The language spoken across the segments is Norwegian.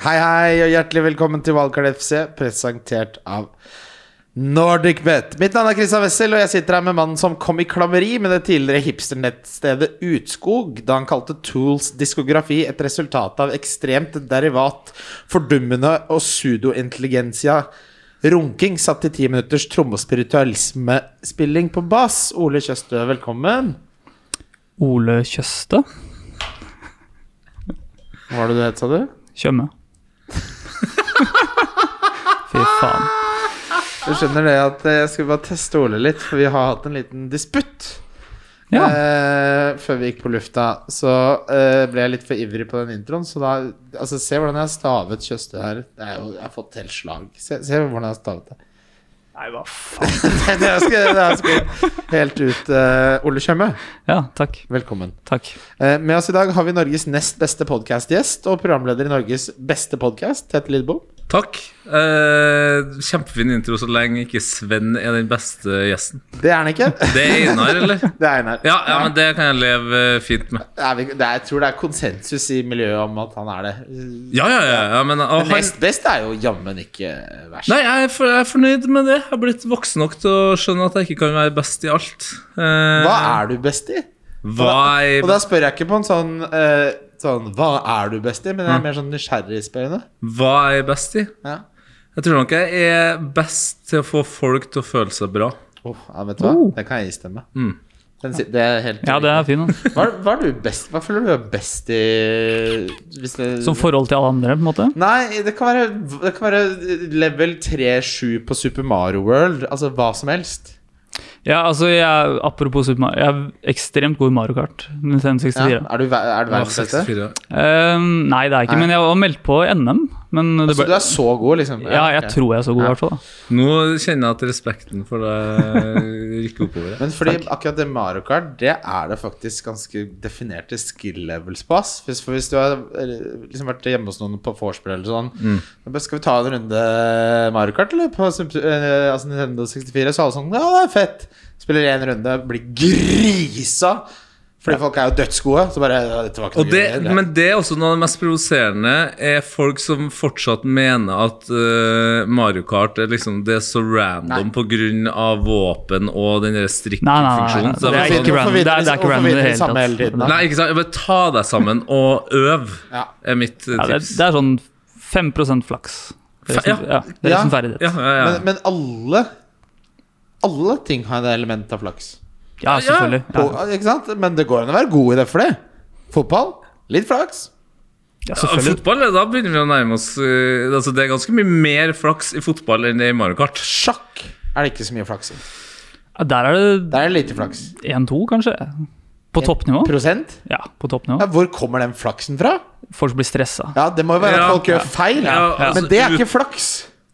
Hei, hei, og hjertelig velkommen til Valgkart FC, presentert av NordicBet. Mitt navn er Christian Wessel, og jeg sitter her med mannen som kom i klammeri med det tidligere hipsternettstedet Utskog da han kalte Tools diskografi et resultat av ekstremt derivat, fordummende og pseudointelligensia. Runking satt i ti minutters trommespiritualismespilling på bass. Ole Kjøstø, velkommen. Ole Kjøste Hva var det du het, sa du? Tjøme. Fy faen. Du skjønner det at eh, jeg skulle bare teste Ole litt, for vi har hatt en liten disputt Ja. eh, før vi gikk på lufta. Så eh, ble jeg litt for ivrig på den introen, så da Altså, se hvordan jeg har stavet Tjøstø her. Det er jo, jeg har fått helt slag. Se, se hvordan jeg har stavet det. Nei, hva faen. Nei, det er skrevet- det er skrevet helt ut. eh, Ole Tjøme, Ja, takk. velkommen. Takk. Eh, med oss i dag har vi Norges nest beste podkastgjest og programleder i Norges beste podkast, Tete Lidbom. Takk. Eh, kjempefin intro så lenge ikke Sven er den beste gjesten. Det er han ikke. Det er Einar, eller? Det er Einar. Ja, ja, men det kan jeg leve eh, fint med. Det er vi- det er, jeg tror det er konsensus i miljøet om at han er det. Ja, ja, ja. ja men, og Men han, nest best er jo jammen ikke verst. nei, jeg er, for, jeg er fornøyd med det. Jeg er blitt voksen nok til å skjønne at jeg ikke kan være best i alt. Eh, Hva er du best i? Hva er, Og da spør jeg ikke på en sånn, eh, sånn Hva er du best i? Men Mm. jeg er mer sånn nysgjerrigspørrende. hva er jeg best i? Ja. Jeg tror nok jeg er best til å få folk til å føle seg bra. Oh, ja, vet du hva? Det kan jeg istemme. Mm. Den, si- det er helt Ja, det er fin. da. hva, hva er du best Hva føler du er best i hvis det, Som forhold til alle andre, på en måte. Nei, det kan, være, det kan være level 3-7 på Super Mario World. Altså hva som helst. Ja, altså, jeg, apropos Super Mario, jeg er ekstremt god i Mario Kart. Nintendo Ja. 64. Er du, ver- er du Å, verdens beste? 64. Ehm, nei, det er jeg ikke, Nei. men jeg var meldt på i NM. Men Så det du ble, er så god, liksom? ja, jeg ok. tror jeg er så god, i hvert fall. da. Nå kjenner jeg at respekten for deg rykker oppover. Men fordi akkurat det Mario Kart, det er det faktisk ganske definerte skill levels på. ass. Hvis, for hvis du har eh, liksom vært hjemme hos noen på vorspiel eller sånn Mm. da bare, Skal vi ta en runde Mario Kart, eller? På Sump- eh, altså Nintendo 64, så er alle sånn Ja, det er fett! Spiller én runde, blir grisa! Fordi folk er jo dødsgode. Så bare ja, dette var ikke Og noe det, gøy, det. men det er også noe av det mest provoserende, er folk som fortsatt mener at eh, Mario Kart er liksom Det er så random pga. våpen og den Nei, nei, nei, der nei, strikkfunksjonen. Så det er jeg bare ikke sånn- random. Det er, det er ikke Hvorfor random i vil det de samme hele hele tiden, da? tatt. Nei, ikke sant. Bare ta deg sammen og øv, Ja. er mitt eh, Ja, det, tips. det er sånn 5 flaks. Det er Fe- ja. liksom, ja, det er Ja. liksom ferdighet. Ja, ja, ja. Men, men alle Alle ting har et element av flaks. Ja, selvfølgelig. På, Ja, ikke sant? Men det går an å være god i det for det. Fotball, litt flaks. ja, Ja, selvfølgelig. fotball, da begynner vi å nærme oss eh, altså Det er ganske mye mer flaks i fotball enn det er i Mario Kart. Sjakk er det ikke så mye flaks i. Ja, Der er det Der er det lite flaks. 1-2, kanskje? På toppnivå? Prosent? Ja, på toppnivå. Ja, hvor kommer den flaksen fra? Folk blir stressa. Ja, Det må jo være Ja. at folk gjør feil. Ja, altså, ja. Men det er ikke flaks.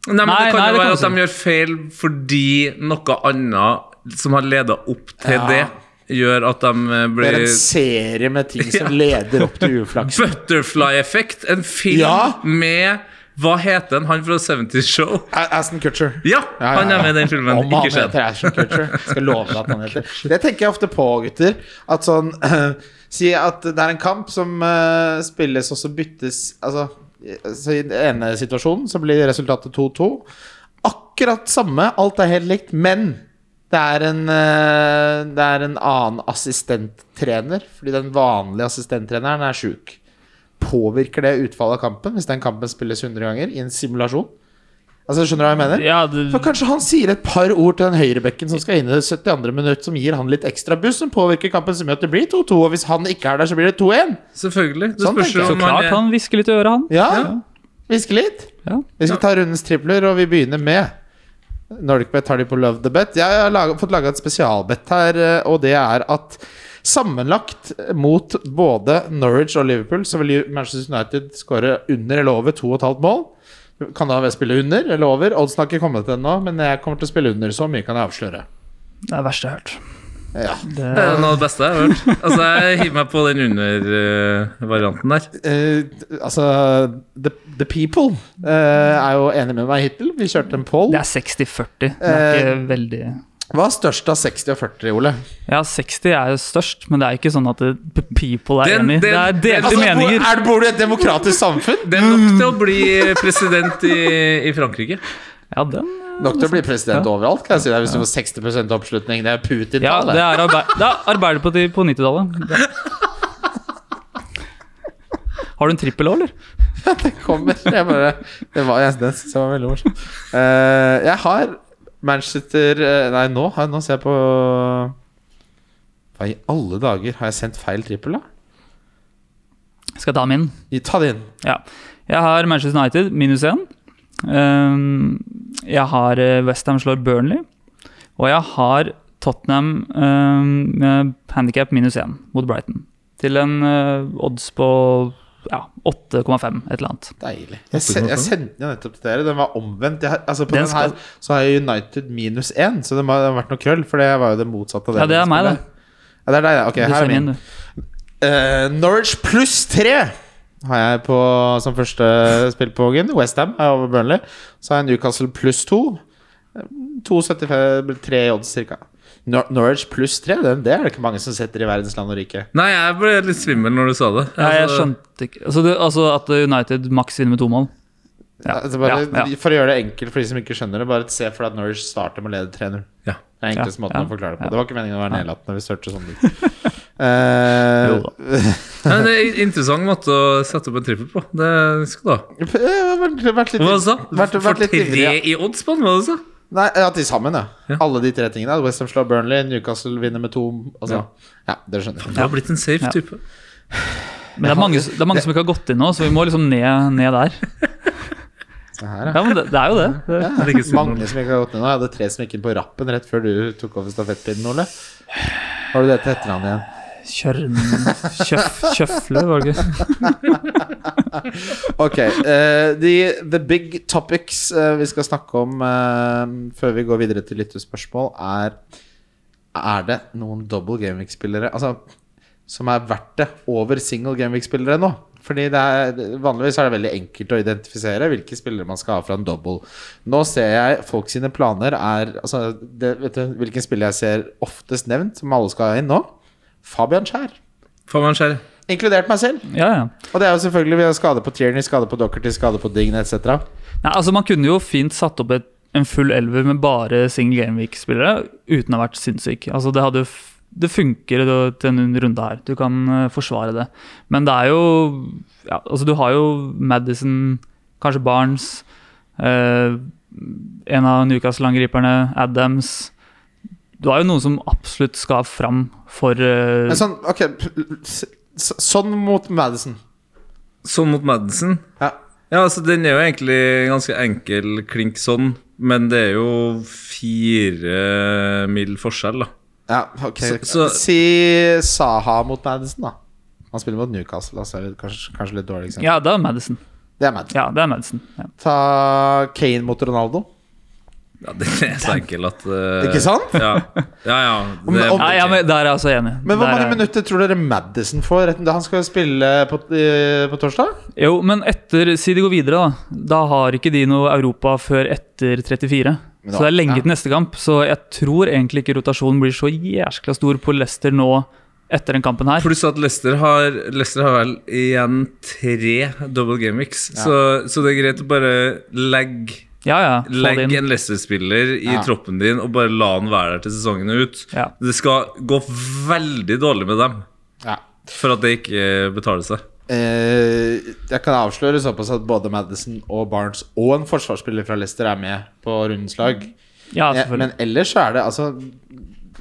Nei, men Nei, Det kan nei, jo det være kan at de gjør feil fordi noe annet som har leda opp til Ja. det, gjør at de eh, Det er blir en serie med ting som leder opp til uflaks. Butterfly-effekt. En film Ja. med Hva heter han? Han fra 70's Show? Aston Kutcher. Ja, Ja, ja, han ja. er med i den filmen. Om han Ikke skjedd. heter Ashton Kutcher. Skal love deg at han heter Det tenker jeg ofte på, gutter. At sånn Si at det er en kamp som eh, spilles, og så byttes Altså, i- så i den ene situasjonen så blir resultatet 2-2. Akkurat samme, alt er helt likt, men det er, en, eh, det er en annen assistenttrener, fordi den vanlige assistenttreneren er sjuk. Påvirker det utfallet av kampen hvis den kampen spilles 100 ganger i en simulasjon? Altså, Skjønner du hva jeg mener? Ja, det, For kanskje han sier et par ord til den høyrebekken som skal inn i det 72. minutt, som gir han litt ekstra buss, som påvirker kampen så mye at det blir 2-2. Og hvis han ikke er der, så blir det 2-1. Selvfølgelig. Det Sånn spørs tenker jo jeg. så om han klart er han hvisker litt i øret, han. Ja, hviske litt. Ja. Vi skal ta rundens tripler, og vi begynner med Nordic-bet har de på Love the Bet. Jeg har laget, fått laga et spesialbett her, eh, og det er at sammenlagt mot både Norwich og Liverpool, så vil Manchester United skåre under eller over 2,5 mål. Kan da spille under eller over. Oddsen har ikke kommet ennå, men jeg kommer til å spille under, så mye kan jeg avsløre. Det er det verste jeg har hørt. Ja. Det, det er noe av det beste jeg har hørt. Altså, Jeg hiver meg på den under-varianten der. Eh, altså The, the People eh, er jo enig med meg hittil. Vi kjørte en poll. det er 60-40. Det er Eh, ikke veldig Hva er størst av 60 og 40, Ole? Ja, 60 er størst, men det er ikke sånn at det, p- people er Den- enig. Det den- er den- delte altså, hvor bor, meninger. er, bor du i et demokratisk samfunn? Det er nok til å bli president i, i Frankrike. Ja, den Nok til å bli president overalt, kan jeg si deg, hvis du får 60 oppslutning. Det er Putin. Ja, da, det er arbeid, det er Arbeiderpartiet på 90-tallet. Det- Har du en trippel òg, eller? kommer. Jeg bare, det var, jeg, det synes jeg var veldig morsomt. Eh, jeg har Manchester eh, Nei, nå, har jeg, nå ser jeg på Hva i alle dager? Har jeg sendt feil trippel, da? Skal jeg ta min? I- Ta det inn. Ja. Jeg har Manchester United minus én. Ehm, jeg har eh, West Ham slår Burnley. Og jeg har Tottenham ehm, med handikap minus én mot Brighton. Til en eh, odds på ja, 8,5, et eller annet. Deilig. Jeg, sen, jeg sendte den nettopp til dere. Den var omvendt. Jeg, har- altså, på Den den, her så har jeg United minus én, så det må det må ha vært noe krøll. For det var jo det motsatte av det. Ja, det er meg, det. Ja, det er deg, ja. Ok, Du her er sender inn, min. du. Eh, Norwich pluss tre har jeg på, som første spill på West Westham er over Burnley. Så har jeg Newcastle pluss to. Eh, 2,75 3 i odds cirka. Nor Norwich pluss tre, den- det er det ikke mange som setter i verdens land og rike. Nei, jeg ble litt svimmel når du sa det. Ja, jeg Altså, skjønte ikke altså, det, altså at United maks vinner med to mål. Ja, Altså bare, ja, ja. For å gjøre det enkelt for de som ikke skjønner det, bare se for deg at Norwich starter med å lede 3-0. Ja. Det er enkleste Ja, måten ja, å forklare det på. ja. Det var ikke meningen å være nedlatende hvis det hørtes sånn ut. Eh, Jo da. Nei, det er en interessant måte å sette opp en trippel på. Det skal du ha. eh, vært- vært litt- Hva var det du sa? vært- vært For litt ivrig, ja. tre i odds på den, hva var det du sa? Nei, ja, til sammen, ja. Alle de tre tingene. Westham slår Burnley, Newcastle vinner med to Altså, ja, dere skjønner. Du har blitt en safe Ja. type. Men det er, mange, det er mange som ikke har gått inn nå, så vi må liksom ned, ned der. Se her, ja. Ja, men det, det er jo det. det. Det er ikke synd om Mange som ikke har gått ned nå. Jeg hadde tre som gikk inn på rappen rett før du tok over stafettpinnen, Ole. Har du det til etternavn igjen? Kjørn... Kjøf, kjøfle, var det ikke? Ok. eh, de, the big topics eh, vi skal snakke om eh, før vi går videre til lyttespørsmål, er Er det noen double gameweek-spillere Altså som er verdt det over single gameweek-spillere nå. Fordi det er, Vanligvis er det veldig enkelt å identifisere hvilke spillere man skal ha fra en double. Nå ser jeg folk sine planer er altså, det, Vet du hvilken spiller jeg ser oftest nevnt, som alle skal ha inn nå? Fabian Skjær. Faen meg skjær. Inkludert meg selv. Ja, ja. Og det er jo selvfølgelig vi har skade på Tierney, skade på Dockerty, skade på Dign etc. Nei, altså, man kunne jo fint satt opp et, en full elver med bare single gameweek-spillere uten å ha vært sinnssyk. Altså, det, hadde, jo f- det funker da til en runde her. Du kan eh, forsvare det. Men det er jo ja, altså, Du har jo Madison, kanskje Barnes, eh, en av Newcastle-angriperne, Adams. Du har jo noen som absolutt skal fram for eh, Men sånn, ok p- s- s- Sånn mot Madison. Sånn mot Madison. Ja. Ja, altså Den er jo egentlig ganske enkel klink sånn, men det er jo fire mil forskjell, da. ja ok Så- så- Si Saha mot Madison, da. Han spiller mot Newcastle, altså. det er Kanskje, kanskje litt dårlig eksempel. Ja, det er Madison. Det er Madison. Ja, det er Madison. Ja. Ta Kane mot Ronaldo. Ja, Den er så enkel at eh, Ikke sant? Ja, ja. ja det er, om- Nei, ja, men Der er jeg altså enig. Men hvor Der mange er- minutter tror dere Madison får? Retten, han skal jo spille på, i- på torsdag? Jo, men etter, si de går videre, da. Da har ikke de noe Europa før etter 34. Men da- Så det er lenge ja. til neste kamp. Så jeg tror egentlig ikke rotasjonen blir så jæskla stor på Leicester nå etter den kampen her. Pluss at Leicester har, Leicester har vel igjen tre double game weeks, så, så det er greit å bare legge Ja, ja. Få Legg det inn. en Leicester-spiller i Ja. troppen din og bare la han være der til sesongen er ut. Ja. Det skal gå veldig dårlig med dem Ja. for at det ikke eh, betaler seg. Eh, jeg kan avsløre såpass at både Madison og Barnes og en forsvarsspiller fra Leicester er med på rundens lag. Ja, Ja, selvfølgelig. men ellers så er det altså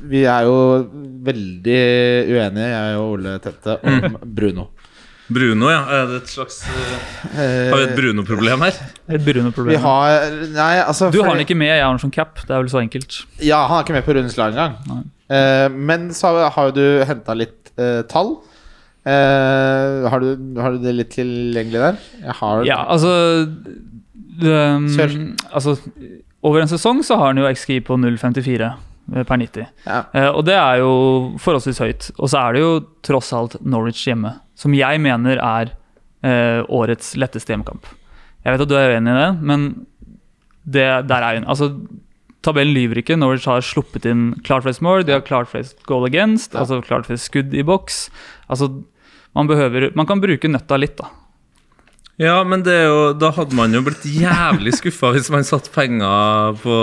Vi er jo veldig uenige, jeg og Ole Tette, Mm. om Bruno. Bruno, ja. Er det et slags eh, Har vi et Bruno-problem her? Et brune Vi problem. har Nei, altså Du har fordi- den ikke med, jeg har den som cap. Det er vel så enkelt. Ja, han er ikke med på rundens lag engang. Eh, men så har- har jo du henta litt eh, tall. Eh, har, du, har du det litt tilgjengelig der? Jeg har Ja, altså um, Kjør. Altså, over en sesong så har han jo XGI på 0,54 per 90. Ja. Eh, Og det er jo forholdsvis høyt. Og så er det jo tross alt Norwich hjemme, som jeg mener er eh, årets letteste hjemmekamp. Jeg vet at du er uenig i det, men det, der er hun. Altså, Tabellen lyver ikke. Norwich har sluppet inn klart flest mål. De har klart flest goal against, Ja. altså klart flest skudd i boks. Altså, man, behøver, man kan bruke nøtta litt, da. Ja, men det er jo, da hadde man jo blitt jævlig skuffa hvis man satte penger på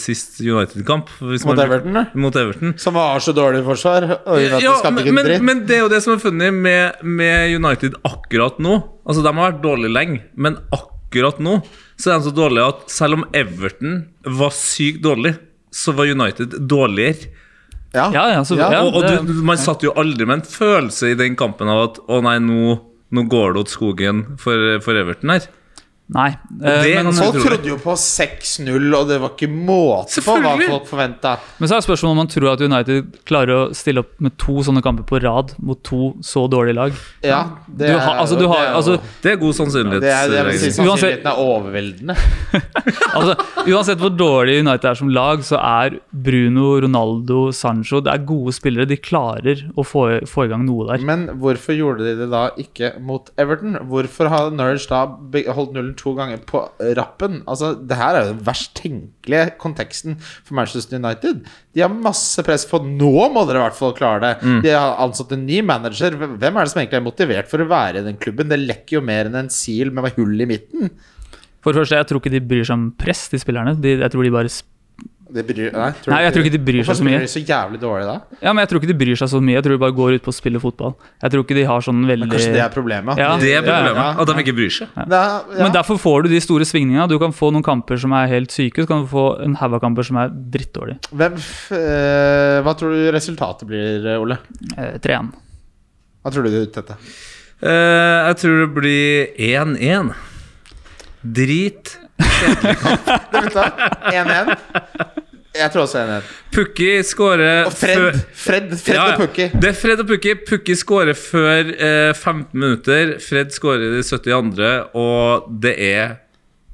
sist United-kamp. Hvis Mot man- Everton, da? Mot Everton. Som har så dårlig forsvar. Og United Ja, skapte ikke en men, men, dritt. men det er jo det som er funnet med, med United akkurat nå. Altså, De har vært dårlige lenge, men akkurat nå så er de så dårlige at selv om Everton var sykt dårlig, så var United dårligere. Ja, ja, så, Ja, ja, og og det- du, man satt jo aldri med en følelse i den kampen av at å nei, nå, nå går det åt skogen for, for Everton her. Nei. eh, Det- men, Folk utrolig. trodde jo på 6-0, og det var ikke måte på hva Selvfølgelig. folk forventa. men så er spørsmålet om man tror at United klarer å stille opp med to sånne kamper på rad mot to så dårlige lag. Ja, det Du er har, jo- altså, du det har, er jo- altså, Det er god sannsynlighet. det er, det er, regner jeg. sannsynligheten Uansett- er overveldende. altså, uansett hvor dårlig United er som lag, så er Bruno, Ronaldo, Sancho Det er gode spillere. De klarer å få, få i gang noe der. Men hvorfor gjorde de det da ikke mot Everton? Hvorfor har Norwich da be- holdt nullen to ganger på rappen? Altså, det her er jo den verst tenkelige konteksten for Manchester United. De har masse press på Nå må dere i hvert fall klare det! Mm. De har ansatt en ny manager. Hvem hvem er det som egentlig er motivert for å være i den klubben? Det lekker jo mer enn en sil med hull i midten. For det første, Jeg tror ikke de bryr seg om press, de spillerne. De, jeg tror de bare sp- Det bryr, nei, Nei, jeg tror ikke de bryr seg så mye. Hvorfor spiller de så jævlig dårlig da? Ja, men jeg tror ikke de bryr seg så mye. Jeg tror de bare går ut på å spille fotball. Jeg tror ikke de har sånn veldig Men kanskje det er problemet? at Ja. de- Det er problemet. Ja, At de ikke bryr seg. Da- ja. Men derfor får du de store svingningene. Du kan få noen kamper som er helt syke, så kan du få en haug av kamper som er drittdårlige. Hvem, f- eh, hva tror du resultatet blir, Ole? Eh, 3-1. Hva tror du, Tette? Eh, jeg tror det blir 1-1. Drit. Det blir klart. 1-1. Jeg tror også 1-1. Pukki skårer Og Fred, før- Fred, Fred Ja, ja. og Pukki. Det er Fred og Pukki. Pukki skårer før eh, 15 minutter. Fred skårer i 72., og det er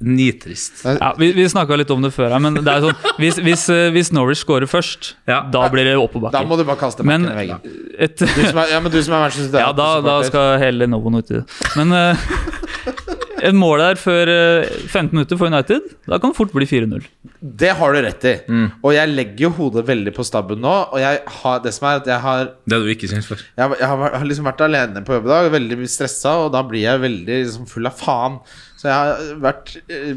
nitrist. Ja, vi vi snakka litt om det før her, men det er sånn, hvis, hvis, eh, hvis Norwich scorer først, Ja. da blir det Da oppoverbakke. må du bare kaste Men bakken i veggen. et Du som er, ja, men du som er Manchester Ja, da, da United-supporter. skal hele Novoen ut i det. Men eh, et mål der før eh, 15 minutter for United, da kan det fort bli 4-0. Det har du rett i. Mm. Og jeg legger jo hodet veldig på stabben nå. Og jeg har, det som er at jeg har Det er du ikke kjent for. jeg, har- jeg har, vært- har liksom vært alene på jobb i dag, veldig stressa, og da blir jeg veldig liksom, full av faen. Så jeg har vært eh,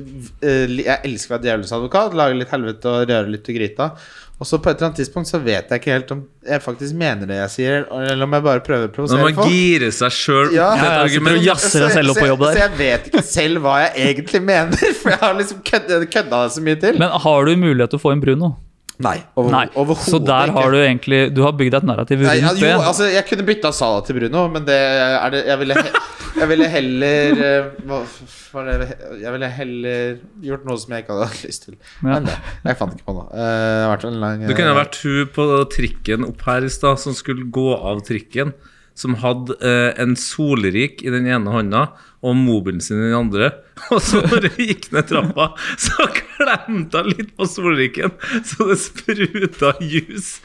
eh, Jeg elsker å være djevelens advokat, lage litt helvete og røre litt i gryta. Og så på et eller annet tidspunkt så vet jeg ikke helt om jeg faktisk mener det jeg sier, eller om jeg bare prøver å Når provosere man folk. girer seg sjøl Ja. Ja, opp til ja, et sitter og argument jazzer deg selv opp på jobb Så, der. jeg vet ikke selv hva jeg egentlig mener, for jeg har liksom kødda, kødda det så mye til. Men har du mulighet til å få inn Bruno? nei, over, Nei. overhodet Så der har ikke. du egentlig Du har bygd deg et narrativ Nei, ja, rundt jo, det. altså, jeg kunne bytta Sala til Bruno, men det er det Jeg ville, he jeg ville heller eh, Hva f- var det Jeg ville heller gjort noe som jeg ikke hadde lyst til. Men det, jeg fant ikke på noe. Eh, det har vært en lang eh, Du kunne ha vært hun på trikken opp her i stad som skulle gå av trikken, som hadde eh, en solrik i den ene hånda og mobilen sin i den andre. Og så når hun gikk ned trappa, så klemte hun litt på solriken, så det spruta juice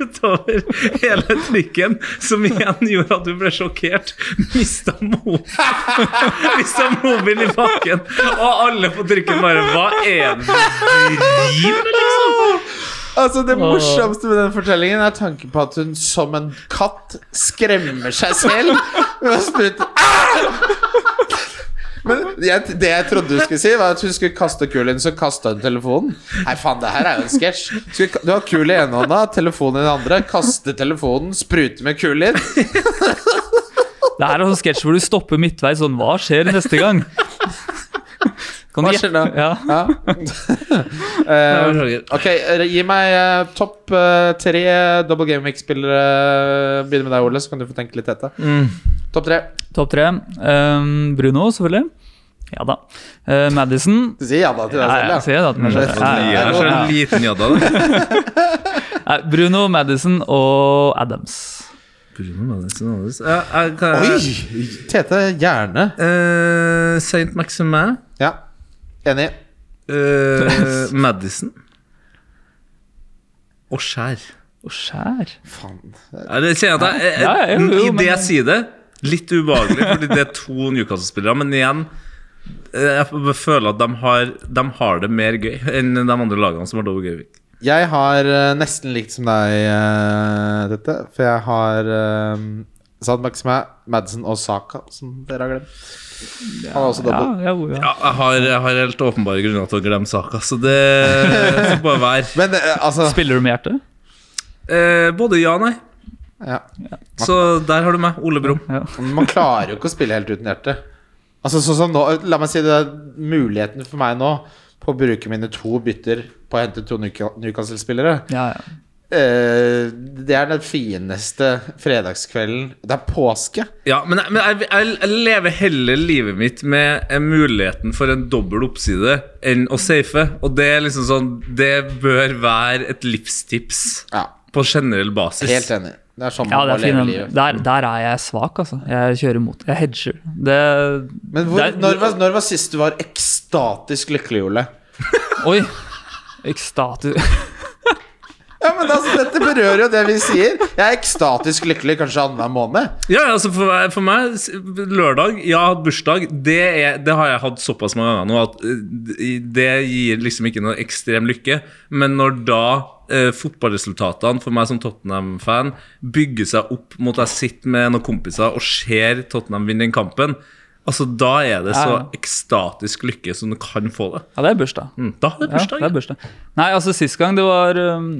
utover hele trikken, som igjen gjorde at hun ble sjokkert. Mista mobilen Mista mobilen i bakken, og alle på trikken bare Hva er det du driver med, liksom? Altså Det morsomste med den fortellingen er tanken på at hun som en katt skremmer seg selv ved å sprute Ah! Men jeg, det jeg trodde du skulle si, var at hun skulle kaste kulen, så kasta hun telefonen. Nei, faen, det her er jo en sketsj. Skulle ka- Du har kul i ene hånda, telefonen i den andre. Kaste telefonen, sprute med kul inn. Det her er en sånn sketsj hvor du stopper midtveis sånn Hva skjer neste gang? Kan Hva du skjer gjette? da? Ja. Ja. Eh, ok, eh, gi meg eh, topp eh, tre double game week-spillere. Begynner med deg, Ole, så kan du få tenke litt etter. Topp tre. Topp tre. Ehm, Bruno, selvfølgelig. Ja da. Eh, Madison. Du sier ja da til deg Ja, selv, jeg ja. ser det at den er Ja, sånn. Ja, Gi ja, deg ja. selv en liten jadda, da. Nei, Bruno, Madison og Adams. Bruno Madison Anders. Ja, jeg kan- Oi! Tete, gjerne. Eh, Saint Maximin. Ja. Enig. eh, Madison. Og skjær. Og skjær. Faen. Ja, det kjenner jeg at jeg, Ja, ja, jo, jo, eh, I det men- jeg sier det, litt ubehagelig, fordi det er to Newcastle-spillere, men igjen eh, Jeg f- føler at de har, de har det mer gøy enn de andre lagene som har dobbel Gauvik. Jeg har eh, nesten likt som deg eh, dette, for jeg har uh, Sad Maxime, Madison og Saka, som dere har glemt. Han er også Ja, double. ja, jo, ja. Ja, jeg har, jeg har helt åpenbare grunner til å glemme saka, så det får bare være. Men eh, altså Spiller du med hjertet? Eh, både ja og nei. ja. Så der har du meg, Ole Brumm. Ja. Man klarer jo ikke å spille helt uten hjerte. Altså sånn som nå La meg si det er muligheten for meg nå på å bruke mine to bytter på å hente to Newca- Newcastle-spillere. Ja, ja. Eh, det er den fineste fredagskvelden. Det er påske. Ja, men, jeg- men jeg, jeg, jeg lever heller livet mitt med eh, muligheten for en dobbel oppside enn å safe. Og det er liksom sånn Det bør være et livstips Ja, på generell basis. helt enig. Det er sånn ja, man det må er leve fint. livet. Der, der er jeg svak, altså. Jeg kjører imot. Jeg hedger. Det Men hvor, det er- når, var, når var sist du var ekstatisk lykkelig, Ole? Oi! Ekstatisk Ja, men altså, Dette berører jo det vi sier. Jeg er ekstatisk lykkelig kanskje annenhver måned. Ja, altså for, meg- for meg, s- lørdag, jeg har hatt bursdag, det, er, det har jeg hatt såpass mange ganger nå at eh, det gir liksom ikke noe ekstrem lykke. Men når da eh, fotballresultatene for meg som Tottenham-fan bygger seg opp mot at jeg sitter med noen kompiser og ser Tottenham vinne den kampen, altså da er det så Ja. ekstatisk lykke som du kan få det. Ja, det er bursdag. Mm, Da er Ja, det det bursdag. er bursdag. Nei, altså sist gang det var um,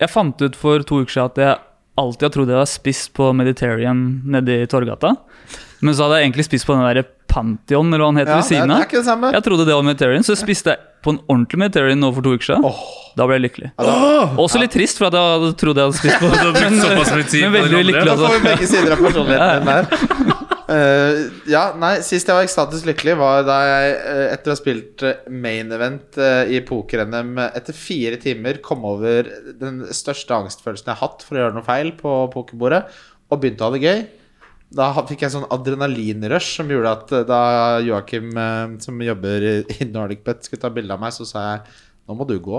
Jeg fant ut for to uker siden at jeg alltid har trodd jeg har spist på Mediterranean nede i Torgata. Men så hadde jeg egentlig spist på den der Pantheon, eller hva den heter, Ja, ved det, er, siden det av. er ikke det samme. Jeg trodde det var Mediterranean, så spiste jeg på en ordentlig Mediterranean nå for to uker siden. Da ble jeg lykkelig. Også litt trist, for at jeg hadde- trodde jeg hadde spist på Du har brukt såpass mye tid Men på veldig den lykkelig, andre. Da får vi altså. begge sider av personligheten din der. Eh, ja, nei, Sist jeg var ekstatisk lykkelig, var da jeg eh, etter å ha spilt eh, main event eh, i poker-NM eh, etter fire timer kom over den største angstfølelsen jeg har hatt for å gjøre noe feil på pokerbordet, og begynte å ha det gøy. Da ha- fikk jeg sånn adrenalinrush som gjorde at eh, da Joakim, eh, som jobber i i Nordic Bet, skulle ta bilde av meg, så sa jeg nå må du gå.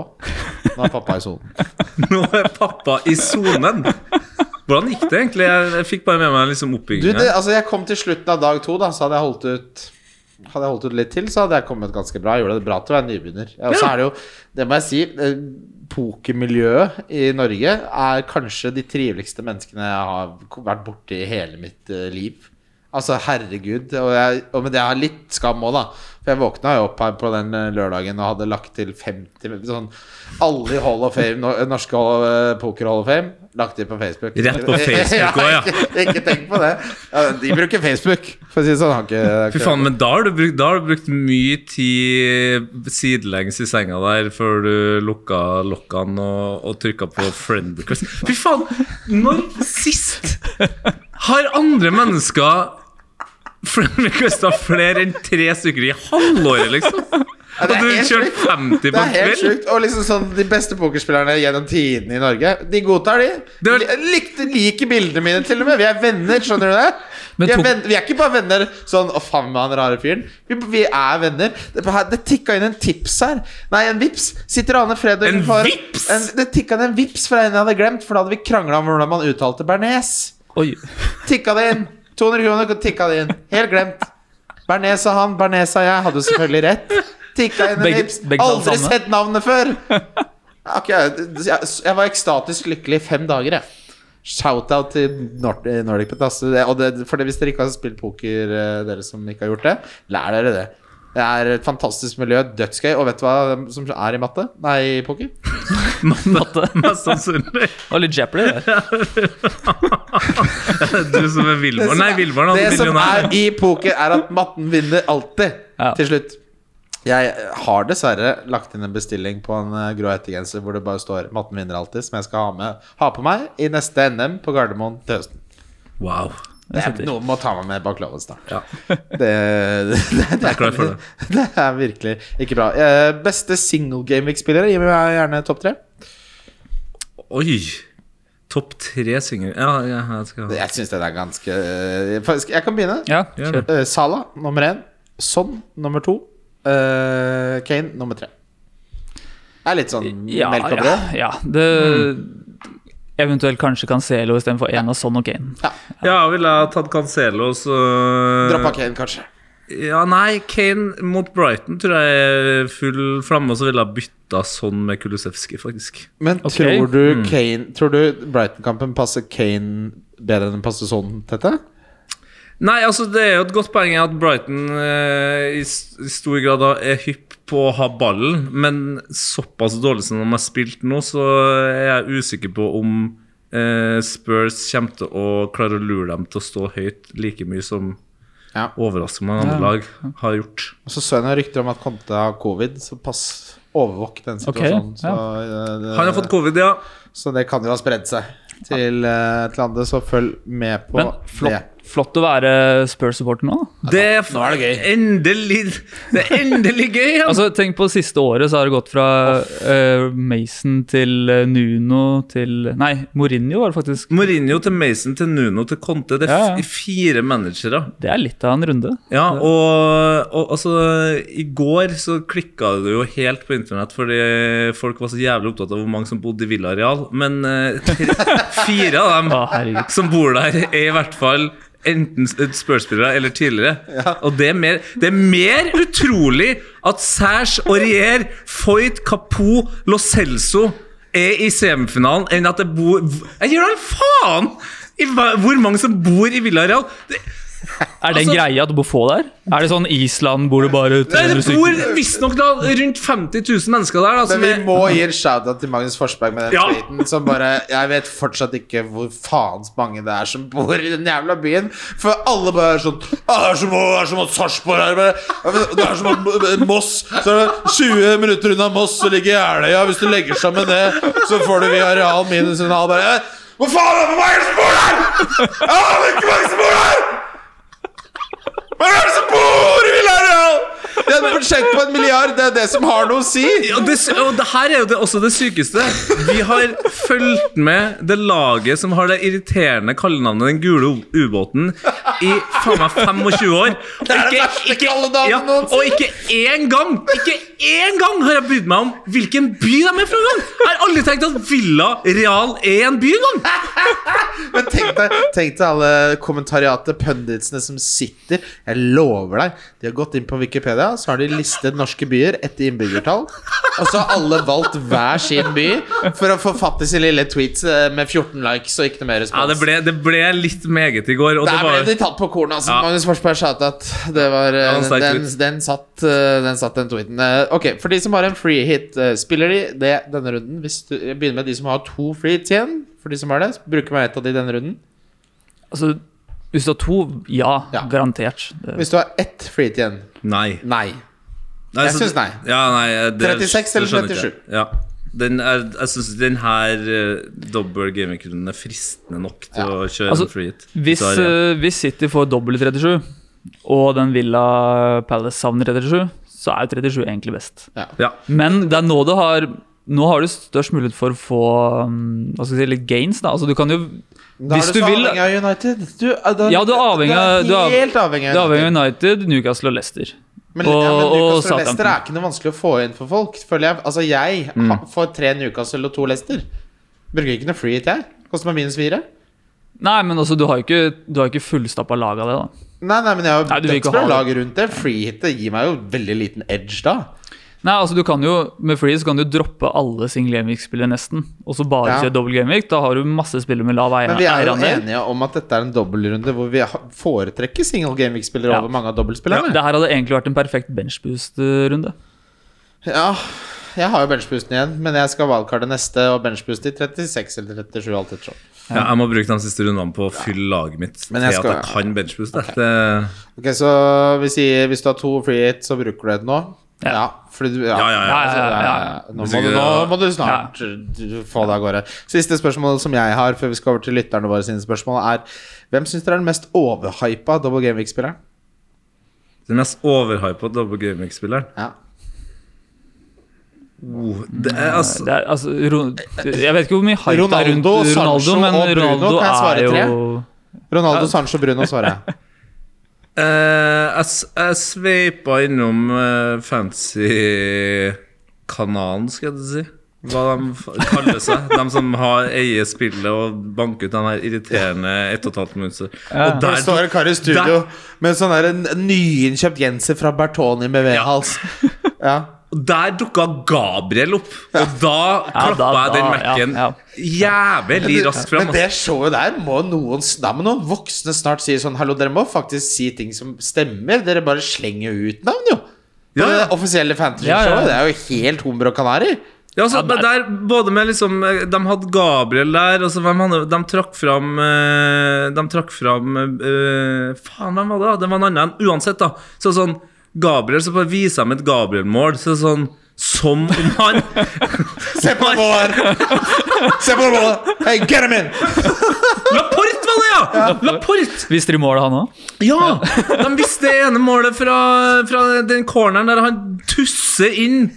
Nå er pappa i sonen. Nå er pappa i sonen. Hvordan gikk det egentlig? Jeg, jeg fikk bare med meg liksom Du, oppbyggingen. det, altså jeg kom til slutten av dag to, da, så hadde jeg holdt ut Hadde jeg holdt ut litt til, så hadde jeg kommet ganske bra. Jeg gjorde det bra til å være nybegynner. Ja, Og så Ja. er det jo, det må jeg si, eh, pokermiljøet i Norge er kanskje de triveligste menneskene jeg har k- vært borti i hele mitt eh, liv. Altså, herregud. Og, jeg, og men det har litt skam òg, da. For jeg våkna jo opp her på den eh, lørdagen og hadde lagt til 50 sånn, Alle i Hall of Fame, no- norske Hall- eh, poker Hall of Fame, lagt til på Facebook. Rett på Facebook også, ja. Ikke, ikke tenk på det. Ja, de bruker Facebook, for å si det sånn. Har ikke, Fy faen, men da har, du brukt, da har du brukt mye tid sidelengs i senga der før du lukka lokkene og, og trykka på friend request. Fy faen! Når sist har andre mennesker friend requesta flere enn tre stykker i halvåret, liksom? Og det er du helt kjørte sjukt. 50 det er på en helt kveld? sjukt. Og liksom sånn, de beste pokerspillerne gjennom tidene i Norge, de godtar de. Det var- Li- Likte, liker bildene mine, til og med. Vi er venner, skjønner du det? Men Vi er, tok- venn, vi er ikke bare venner sånn 'Å, faen med han rare fyren'. Vi, vi er venner. Det, her- det tikka inn en tips her. Nei, en vips. Sitter Ane Fred og En får- vips? En, det tikka inn en vips fra en jeg hadde glemt, for da hadde vi krangla om hvordan man uttalte bearnés. Oi. Tikka det inn. 200 kroner tikka det inn. Helt glemt. Bernes og han, Bernes og jeg hadde jo selvfølgelig rett. Tikka inn en Begge- vips. begge sa det Aldri samme. sett navnet før! Ok, jeg, jeg var ekstatisk lykkelig i fem dager, jeg. Shout-out til Nord Nordic Petas. Og det, for det, hvis dere ikke har spilt poker, eh, dere som ikke har gjort det, lær dere det. Det er et fantastisk miljø, dødsgøy. Og vet du hva som er i matte? Nei, i poker? Matte. Mest sannsynlig. Det var litt Jeopardy, det. Du som er Vilmar. Nei, Vilmar er det som millionær. er i poker, er at matten vinner alltid Ja. til slutt. Jeg har dessverre lagt inn en bestilling på en eh, grå hettegenser hvor det bare står 'Matten vinner alltid', som jeg skal ha, med, ha på meg i neste NM på Gardermoen til høsten. Wow. Det er, setter. noen må ta meg med bak loven snart. Ja. Det, det, det, er klar for det. det er virkelig ikke bra. Eh, beste single gameweek-spillere? Gi meg gjerne topp tre. Oi! Topp tre singler Ja, ja, jeg skal Jeg syns den er ganske eh, faktisk- Jeg kan begynne. Ja, Gjør kjør. det. Eh, Salah nummer én. Son nummer to. eh, Kane nummer tre. Det er litt sånn Ja, melk og ja, brød. ja. Det Eventuelt kanskje Cancelo sånn, istedenfor én av Son og Kane. Ja. Ja, ville jeg tatt Cancelo, så eh, Droppa Kane, kanskje. Ja, nei, Kane mot Brighton tror jeg er full flamme, og så ville jeg bytta sånn med Kulusevski, faktisk. Men Ok. Mm. tror du Kane Tror du Brighton-kampen passer Kane bedre enn den passer sånn, Tette? Nei, altså det er jo et godt poeng at Brighton eh, i, s- i stor grad da er hypp på å ha ballen, men såpass dårlig som de har spilt nå, så er jeg usikker på om eh, Spurs kommer til å klare å lure dem til å stå høyt like mye som Ja. overraskende andre Ja. lag har gjort. Og så så jeg noen rykter om at Conte har covid, så pass overvåk den Ok, situasjonen. Så, eh, det, Han har fått covid, ja. så det kan jo ha spredd seg til, eh, til andre, så følg med på Men det. flott, flott å være Spurs-supporter nå. da. Det er, f- Nå er det gøy. Endelig, det er endelig gøy! Ja. Altså, tenk på det siste året, så har det gått fra eh, Mason til eh, Nuno til Nei, Mourinho var det faktisk. Mourinho til Mason til Nuno til Conte. Det er Ja, ja. f- fire managere. Det er litt av en runde. Ja, og, og altså I går så klikka det jo helt på internett fordi folk var så jævlig opptatt av hvor mange som bodde i Villareal. Men eh, tre, fire av dem Å, Ah, herregud. som bor der, er i hvert fall enten spørsspillere eller tidligere. Og det er, mer, det er mer utrolig at Sæsj, Aurier, Foyt, Kapo, Lo Celso er i semifinalen, enn at det bor Jeg gir da en faen i hva- hvor mange som bor i Villareal! Det, Er det en Altså- greie at du bor få der? Er det sånn Island bor det bare Nei, det 300 bor stykker? visstnok da rundt 50 000 mennesker der. Da, som Men vi er- må gi en shout-out til Magnus Forsberg med den Ja. tweeten som bare Jeg vet fortsatt ikke hvor faens mange det er som bor i den jævla byen. For alle bare er sånn «Ah, Det er som å- det er som at Sarpsborg er bare- Det er som at Moss Så er det 20 minutter unna Moss, så ligger Jeløya. Hvis du legger sammen det, så får du via real minus en halv bare Hvor faen er det for mange som bor der?! Jeg aner ikke hvor mange som bor der! Hvem er det som bor i Villareal?! De hadde budsjett på en milliard, det er det som har noe å si! Ja, det, sy- og det her er jo det, også det sykeste. Vi har fulgt med det laget som har det irriterende kallenavnet Den gule u- ubåten i faen meg 25 år. Og er det verste kallenavnet ja, noensinne. Og ikke én gang Ikke én gang har jeg brydd meg om hvilken by de er fra! engang. Jeg har aldri tenkt at Villa Real er en by engang! Men tenk deg, tenk deg alle kommentariatet, punditsene som sitter Jeg lover deg, de har gått inn på Wikipedia, så har de listet norske byer etter innbyggertall. Og så har alle valgt hver sin by for å forfatte sin lille tweets eh, med 14 likes og ikke noe mer Ja, respons. det ble, det ble litt meget i går. Og det Der var, ble de tatt på kornet. Altså. Ja. Magnus Forsberg sa at det var, eh, var en sterk den, tweet. den, satt, eh, den satt, den tweeten. Eh, Ok, For de som har en free hit, eh, spiller de det denne runden? Hvis du, jeg begynner med de som har to free hits igjen. For de som har det, bruker meg ett av de denne runden. Altså, hvis du har to, ja, Ja. garantert. Det- Hvis du har ett free hit igjen nei. Nei. Nei, Jeg så- syns nei. Ja, nei det, 36 eller det skjønner ikke 37? jeg. Ja. Den er, jeg syns den her uh, dobbel gamingrunden er fristende nok til å kjøre Altså, en free hit. Hvis, Så er det- eh, hvis City får dobbel 37, og den Villa Palace savner 37, så er jo 37 egentlig best. ja. Men det er nå du har Nå har du størst mulighet for å få um, hva skal jeg si, litt gains. da Altså Du kan jo Da Hvis er du, du så vil- avhengig av United. Du, er- da, Ja, du er avhengig av- Du du er- er helt avhengig Det av avhenger United. av United, Newcastle og Leicester. Men, ja, men og- og Newcastle og Leicester er Southampton. Mm. ikke noe vanskelig å få inn for folk. Føler jeg Altså, jeg ha- får tre Newcastle og to Leicester. Bruker ikke noe free hit, jeg. Koster meg minus fire. Nei, men altså, du har jo ikke, du har ikke fullstappa lag av det, da. Nei, nei, men jeg Nei, har du vil ikke dødsbra ha lag rundt det. Freehitet gir meg jo veldig liten edge da. Nei, altså du kan jo Med Free så kan du droppe alle single Gameweek-spillere nesten, og så bare Ja. kjøre dobbel Gameweek. Da har du masse spillere med lav eier- Men vi er jo eierandel. enige om at dette er en dobbeltrunde hvor vi ha- foretrekker single gameweek-spillere Ja. over mange av dobbeltspillerne. Det her hadde egentlig vært en perfekt eh, benchboost-runde. Ja, jeg har jo benchboosten igjen, men jeg skal wildcarde neste og benchbooste i 36 eller 37. alt etter sånn. ja, jeg må bruke de siste rundene på å fylle laget mitt Men jeg til at skal- jeg kan benchboost. det. Det, Ok, Så vi sier hvis du har to free hit, så bruker du det nå? Ja. fordi du, ja. Ja, ja, ja. altså, Ja, ja, ja. Nå, Hvis må du, ikke- nå må du snart du- få det av gårde. Siste spørsmål som jeg har, før vi skal over til lytterne våre sine spørsmål, er hvem syns dere er den mest overhypa double gameweek-spilleren? den mest overhypa dobbel gaming-spilleren Ja. oh, Det er altså Det er, altså, Ro- jeg vet ikke hvor mye hype det er rundt Ronaldo, Ronaldo, Sancho men og Bruno, Ronaldo kan jeg svare er jo tre? Ronaldo, Sancho, Bruno, svarer jeg. Eh, jeg, s- jeg sveipa innom eh, fancy-kanalen, skal jeg si. hva de f- kaller seg. De som har eier spillet og banker ut den her irriterende 1 12 minutter. Og Der står en kar i studio der- med sånn der en en nyinnkjøpt genser fra Bertoni med V-hals. Ja. og der dukka Gabriel opp, og da Ja, klappa da- jeg den da- ja, Mac-en ja. jævlig raskt fram. altså. Men det showet der må noen s- Da må noen voksne snart si sånn Hallo, dere må faktisk si ting som stemmer. Dere bare slenger jo ut navn, jo. På Ja, ja. Det offisielle Ja, ja. fantasy-showet. Det er jo helt Humber og Kanari. Ja, altså, men der, både med liksom eh, De hadde Gabriel der, og så hvem hadde De trakk fram eh, De trakk fram eh, Faen, hvem var det? da? Det var en annen. Uansett, da. Så sånn Gabriel, så bare viser de et Gabriel-mål. Så sånn Som om han Se på mål! Se på mål! Hey, get him in! Laporte var det, ja! Laporte! Visste de målet, han òg? Ja! De visste det ene målet fra, fra den corneren der han tusser inn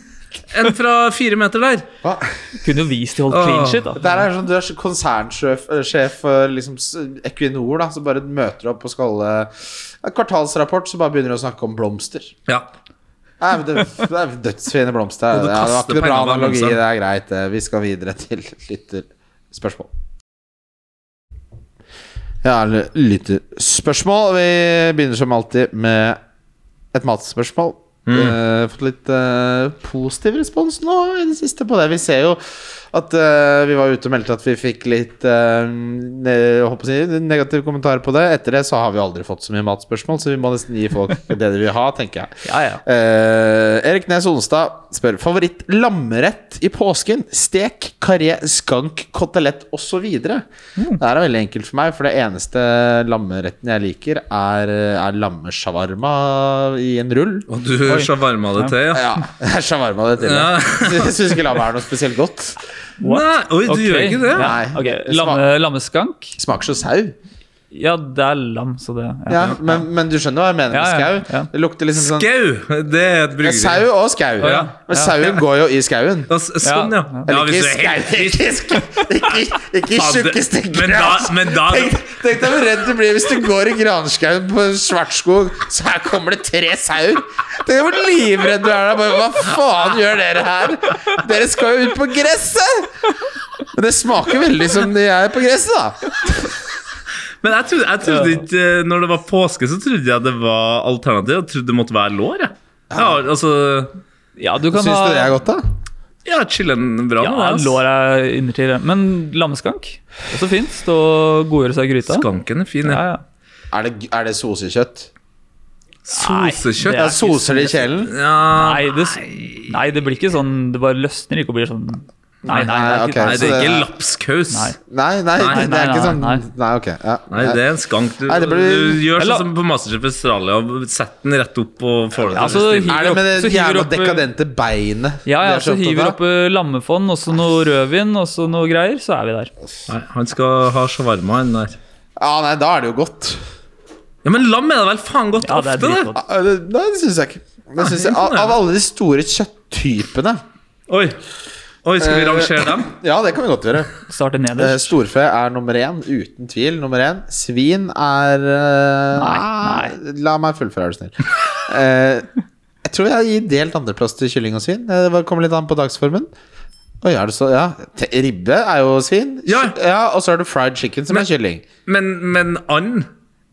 en fra fire meter der. Hva? Kunne jo vist de holdt Åh. clean shit, da. Der er det sånn, Du er konsernsjef eh, sjef for liksom s- Equinor, da, som bare møter opp og skal eh, ja, Kvartalsrapport, så bare begynner å snakke om blomster. Ja. Nei, men det, det er dødsfine blomster. Og du Ja, det var kaster ikke noe bra penger på analogi. annonsen. Det er greit. det. Vi skal videre til lytterspørsmål. Ja, l- lytterspørsmål. Vi begynner som alltid med et matspørsmål. Mm. Vi har fått litt eh, positiv respons nå i det siste på det. Vi ser jo at eh, vi var ute og meldte at vi fikk litt eh, ne jeg håper å si, negative kommentarer på det. Etter det så har vi aldri fått så mye matspørsmål, så vi må nesten gi folk det de vil ha, tenker jeg. Ja, ja. Eh, Erik Nes Onstad spør favoritt lammerett i påsken. Stek, karé, skank, kotelett osv. Mm. Det her er veldig enkelt for meg, for det eneste lammeretten jeg liker, er, er lammeshawarma i en rull. Og du shawarma det til, ja? Ja, shawarma det til. Ja. Jeg syns ikke lammet er noe spesielt godt. Nei, oi, du Ok. gjør ikke det? Ja, Nei. ok. Det smak- Lamme, lammeskank? Smaker så sau. Ja, det er lam, så det ja. Ja, men, men du skjønner hva jeg mener Ja, ja, med skau? ja. Det lukter liksom sånn Skau, det er et Ja, Sau bryggeri. og skau. ja. Men sauen går jo i skauen. Ja, s- Sånn, ja. Ja. ja Eller hvis ikke du er helt- skau Ikke, sk- ikke, ikke Faen, det- tjukke stykker. Men da, altså. men da Tenk, tenk deg hvor redd du blir hvis du går i granskauen på Svartskog, så her kommer det tre sauer. Tenk deg hvor livredd du er da. Bare, hva faen gjør dere her? Dere skal jo ut på gresset! Men det smaker veldig som de er på gresset, da. Men jeg trodde, jeg trodde ikke eh, Når det var påske, så trodde jeg det var alternativ. Jeg trodde det måtte være lår, jeg. Ja, altså ja du kan Syns ha du det er godt, da? Ja, chillen bra. Ja, med det, ass. lår er innertier. Men lammeskank? Også fint. Stå og godgjøre seg i gryta. altså. Skanken er fin, Ja, ja. ja. Er det, er det sosekjøtt? Nei, Sosekjøtt. Ja, det er- soser det i kjelen? Ja, Nei det, nei, det blir ikke sånn Det bare løsner ikke og blir sånn Nei, nei, nei, Nei, det er ikke ok. så det. Nei, det er Altså, det ikke er- lapskaus. Nei. Nei, nei, Nei, det nei, er ikke nei, sånn Nei, nei. ok. Ja. Nei, det er en skank. Du, Nei, det blir- du gjør Eller- sånn som på Masterchef Australia. og Sett den rett opp og får det Ja, altså, til. Er å stille. det med Så det hiver jævla opp- dekadente beinet? Ja, de ja, er så opptatt hiver av? opp eh, lammefond, og så noe rødvin, og så noe greier, så er vi der. Nei, han skal ha shawarma, han der. Ja, nei, da er det jo godt. Ja, men lam er det vel faen godt Ja, det er ofte, det. dritgodt. Ja, det- Nei, det syns jeg ikke. Det synes jeg, sånn, av, av alle de store kjøtttypene Oi. Oi, skal vi Eh, rangere dem? Ja, det kan vi godt gjøre. Starte Eh, nederst. Storfe er nummer én, uten tvil. Nummer én. Svin er eh, Nei, La meg fullføre, er du snill. Eh, jeg tror jeg gir delt andreplass til kylling og svin. Eh, Det kommer litt an på dagsformen. Oi, er det så, ja Te- Ribbe er jo svin. Ja. Og så er det fried chicken, som Men- er kylling. Men, men and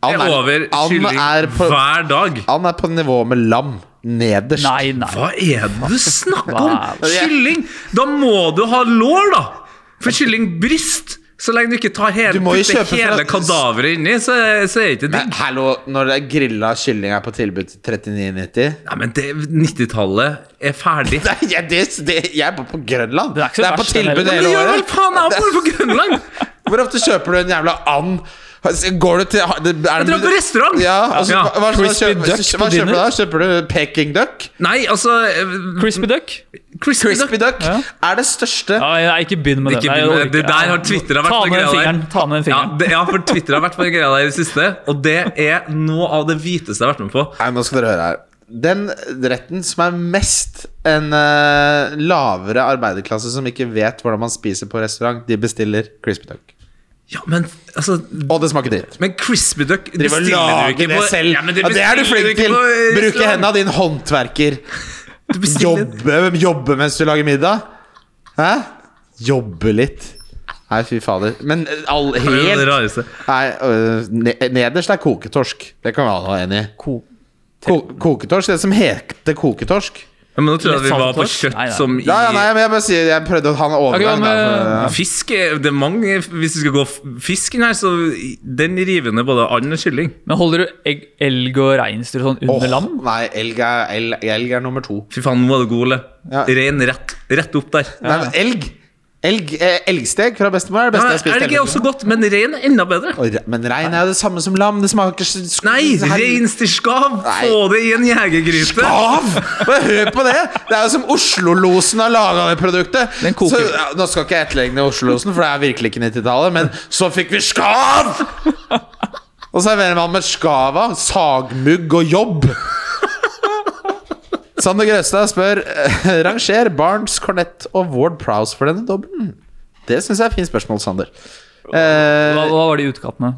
And er er- over and kylling er på- hver dag. Han er på nivå med lam. Nederst. Nei, nei. Hva er det du snakker om? Hva er- Kylling! Da må du ha lår, da! For kyllingbryst så lenge du ikke tar hele, Du må jo putter kjøpe fra- hele kadaveret inni, så, så er det ikke Men digg. hallo, når det er grilla kylling er på tilbud til 39,90 Nei, men det 90-tallet er ferdig. Nei, jeg, det, det, jeg bor på Grønland. Det er ikke så på verst, tilbud det Men hele gjør vel året. faen jeg bor på Grønland! Hvor ofte kjøper du en jævla and? Går du til har- det- er det- drar på restaurant. Ja, og så, Ja. Hva, hva, Crispy kjøper, duck hva på kjøper du dinner. da? Kjøper du Peking duck? Nei, altså eh, Crispy duck? Crispy, duck. Crispy duck Ja. er det største Ja, nei, ikke begynn med det. Nei, Ikke jeg begynn med orker det. Det ikke. der har Twitter vært Ta på med den greia der. fingeren. Ta med den ja, fingeren. det, ja, for Twitter har vært på den greia der i det siste, og det er noe av det hviteste jeg har vært med på. Nei, nå skal dere høre her. Den retten som er mest en eh, lavere arbeiderklasse som ikke vet hvordan man spiser på restaurant, de bestiller crispy duck. Ja, men altså Og det smaker dritt. Men crispy duck Driver og bestiller du lager ikke det på selv. Ja, men det, er du bestiller flink ikke til. på Bruke restaurant. hendene, din håndverker. Du bestiller- Jobbe, jobbe mens du lager middag. Hæ? Jobbe litt. Nei, fy fader. Men eh, all, Det er jo det helt rareste. Nei, øh, ne- nederst er koketorsk. Det kan vi alle være enig i. Ko Ko koketorsk? Det som heter koketorsk? Ja, men nå tror jeg at vi Litt var på salttorsk? kjøtt Nei, nei. som i sånn Ja, ja, nei, men jeg bare sier Jeg prøvde å ha en overgang. Ok, hva med- da, for- Fisk er, det er mange Hvis du skal gå f- fisken her, så i- den river ned både and og kylling. Men holder du egg, elg og reinsdyr og sånn under Åh, lam? Nei, elg er, elg, elg er nummer to. Fy faen, nå er du god, Ole. Ja. Rein rett, rett opp der. Nei, men elg Elg, eh, Elgsteg fra bestemor er det beste jeg Ja, har spist. elg er hele også tiden. godt, men rein er enda bedre. Og re- Men rein er jo det samme som lam. Det smaker så- sk- Nei, herre- reinsdyrskav! Nei. Få det i en jegergryte! Av! Bare hør på det! Det er jo som Oslo-losen har laga det produktet. Den koker. Så, ja, nå skal ikke jeg etterligne Oslo-losen, for det er virkelig ikke 90-tallet, men så fikk vi skav! Og serverer man med skava, sagmugg og jobb. Sander Grøstad spør eh, Ranger Barnes, Cornett og Ward Prowse for denne dobbelen. Det syns jeg er et fint spørsmål, Sander. Hva, Eh, hva var de utkattene?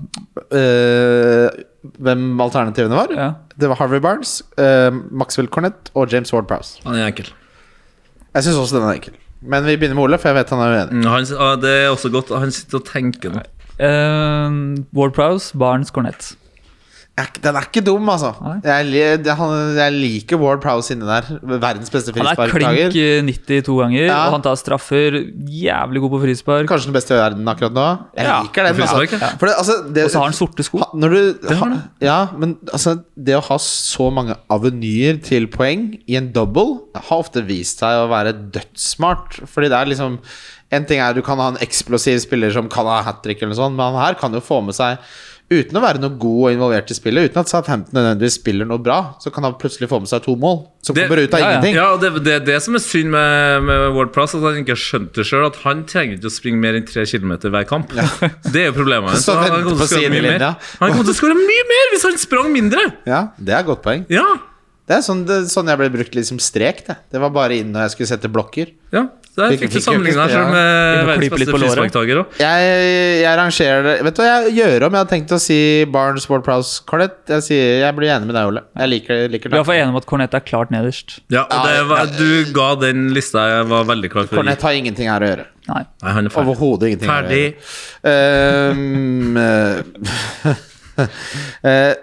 eh, hvem alternativene var? Ja. Det var Harvey Barnes, eh, Maxwell Cornett og James Ward Prowse. Han er enkel. Jeg syns også den er enkel. Men vi begynner med Ole, for jeg vet han er uenig. Mm, Han, ah, det er også godt. Han sitter og tenker nå. Eh, Ward Prowse, Barnes, Cornett. Jeg er ikke- Den er ikke dum, altså. Nei. Jeg, li- det- han- jeg liker Ward Prowse inni der. Verdens beste Han er frisparktaker. klink eh, 90 to ganger, Ja. og han tar straffer. Jævlig god på frispark. Kanskje den beste i verden akkurat nå. Jeg Ja, liker den. på frispark, Altså. ja. For det, altså, det, Og så har han sorte sko. ha- når du, har ha, ja, men altså, det å ha så mange avenyer til poeng i en double har ofte vist seg å være dødssmart. Fordi det er liksom En ting er du kan ha en eksplosiv spiller som kan ha hat trick, eller noe sånt, men han her kan jo få med seg Uten å være noe god og involvert i spillet, uten at Southampton nødvendigvis spiller noe bra, så kan han plutselig få med seg to mål som Det- kommer ut av ja, ja. ingenting. Ja, og det er det, er det som er synd med, med Ward Prowse, at han ikke har skjønt det sjøl. At han trenger ikke å springe mer enn tre kilometer hver kamp. Det er jo problemet hans. Så Han venter kommer til på å skåre mye sidelinja. mer. Han kommer til å skåre mye mer hvis han sprang mindre! Ja, det er et godt poeng. Ja, Det er sånn, det, sånn jeg ble brukt litt som strek. Det. det var bare inn når jeg skulle sette blokker. ja. Der Fikk- fikk du fikk jo ikke sammenligna spille, sjøl med Begynne å verdens klype litt beste på låret. frisparktaker òg. Jeg, jeg rangerer det Vet du hva jeg gjør om? Jeg hadde tenkt å si Barnes, Ward Prowse, Cornett. Jeg, sier, jeg blir enig med deg, Ole. Jeg liker, liker Vi er det. for enige om at Cornett er klart nederst. Ja, og det var, du ga den lista jeg var veldig klar for. å gi. Cornett har ingenting her å gjøre. Nei. Nei, han er ferdig. Overhodet ingenting. her å Ferdig. gjøre. Ehm, eh, eh,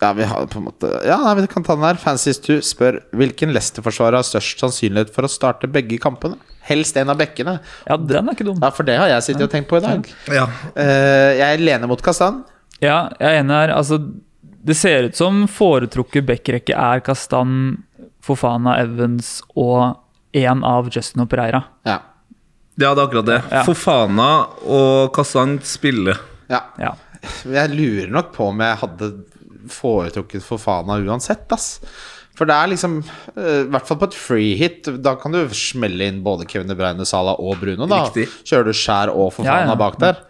ja, vi har på en måte Ja, nei, vi kan ta den her. Fancies 2 spør hvilken Leicester-forsvarer har størst sannsynlighet for å starte begge kampene. Helst en av bekkene. Ja, den er ikke dum. Ja, for det har jeg sittet og tenkt på i dag. Ja. Eh, jeg lener mot Kazan. Ja, jeg er enig her. Altså, det ser ut som foretrukket backrekke er Kastan, Fofana, Evans og én av Justin og Pereira. Ja. ja, det er akkurat det. Ja. Fofana og Kazan spiller. ja. Ja. Jeg lurer nok på om jeg hadde foretrukket Fofana uansett, ass. For det er liksom eh, I hvert fall på et free hit. Da kan du smelle inn både Kevin De Bruyne, Sala og Bruno. Da Riktig. kjører du Skjær og Fofana Ja, ja. bak der.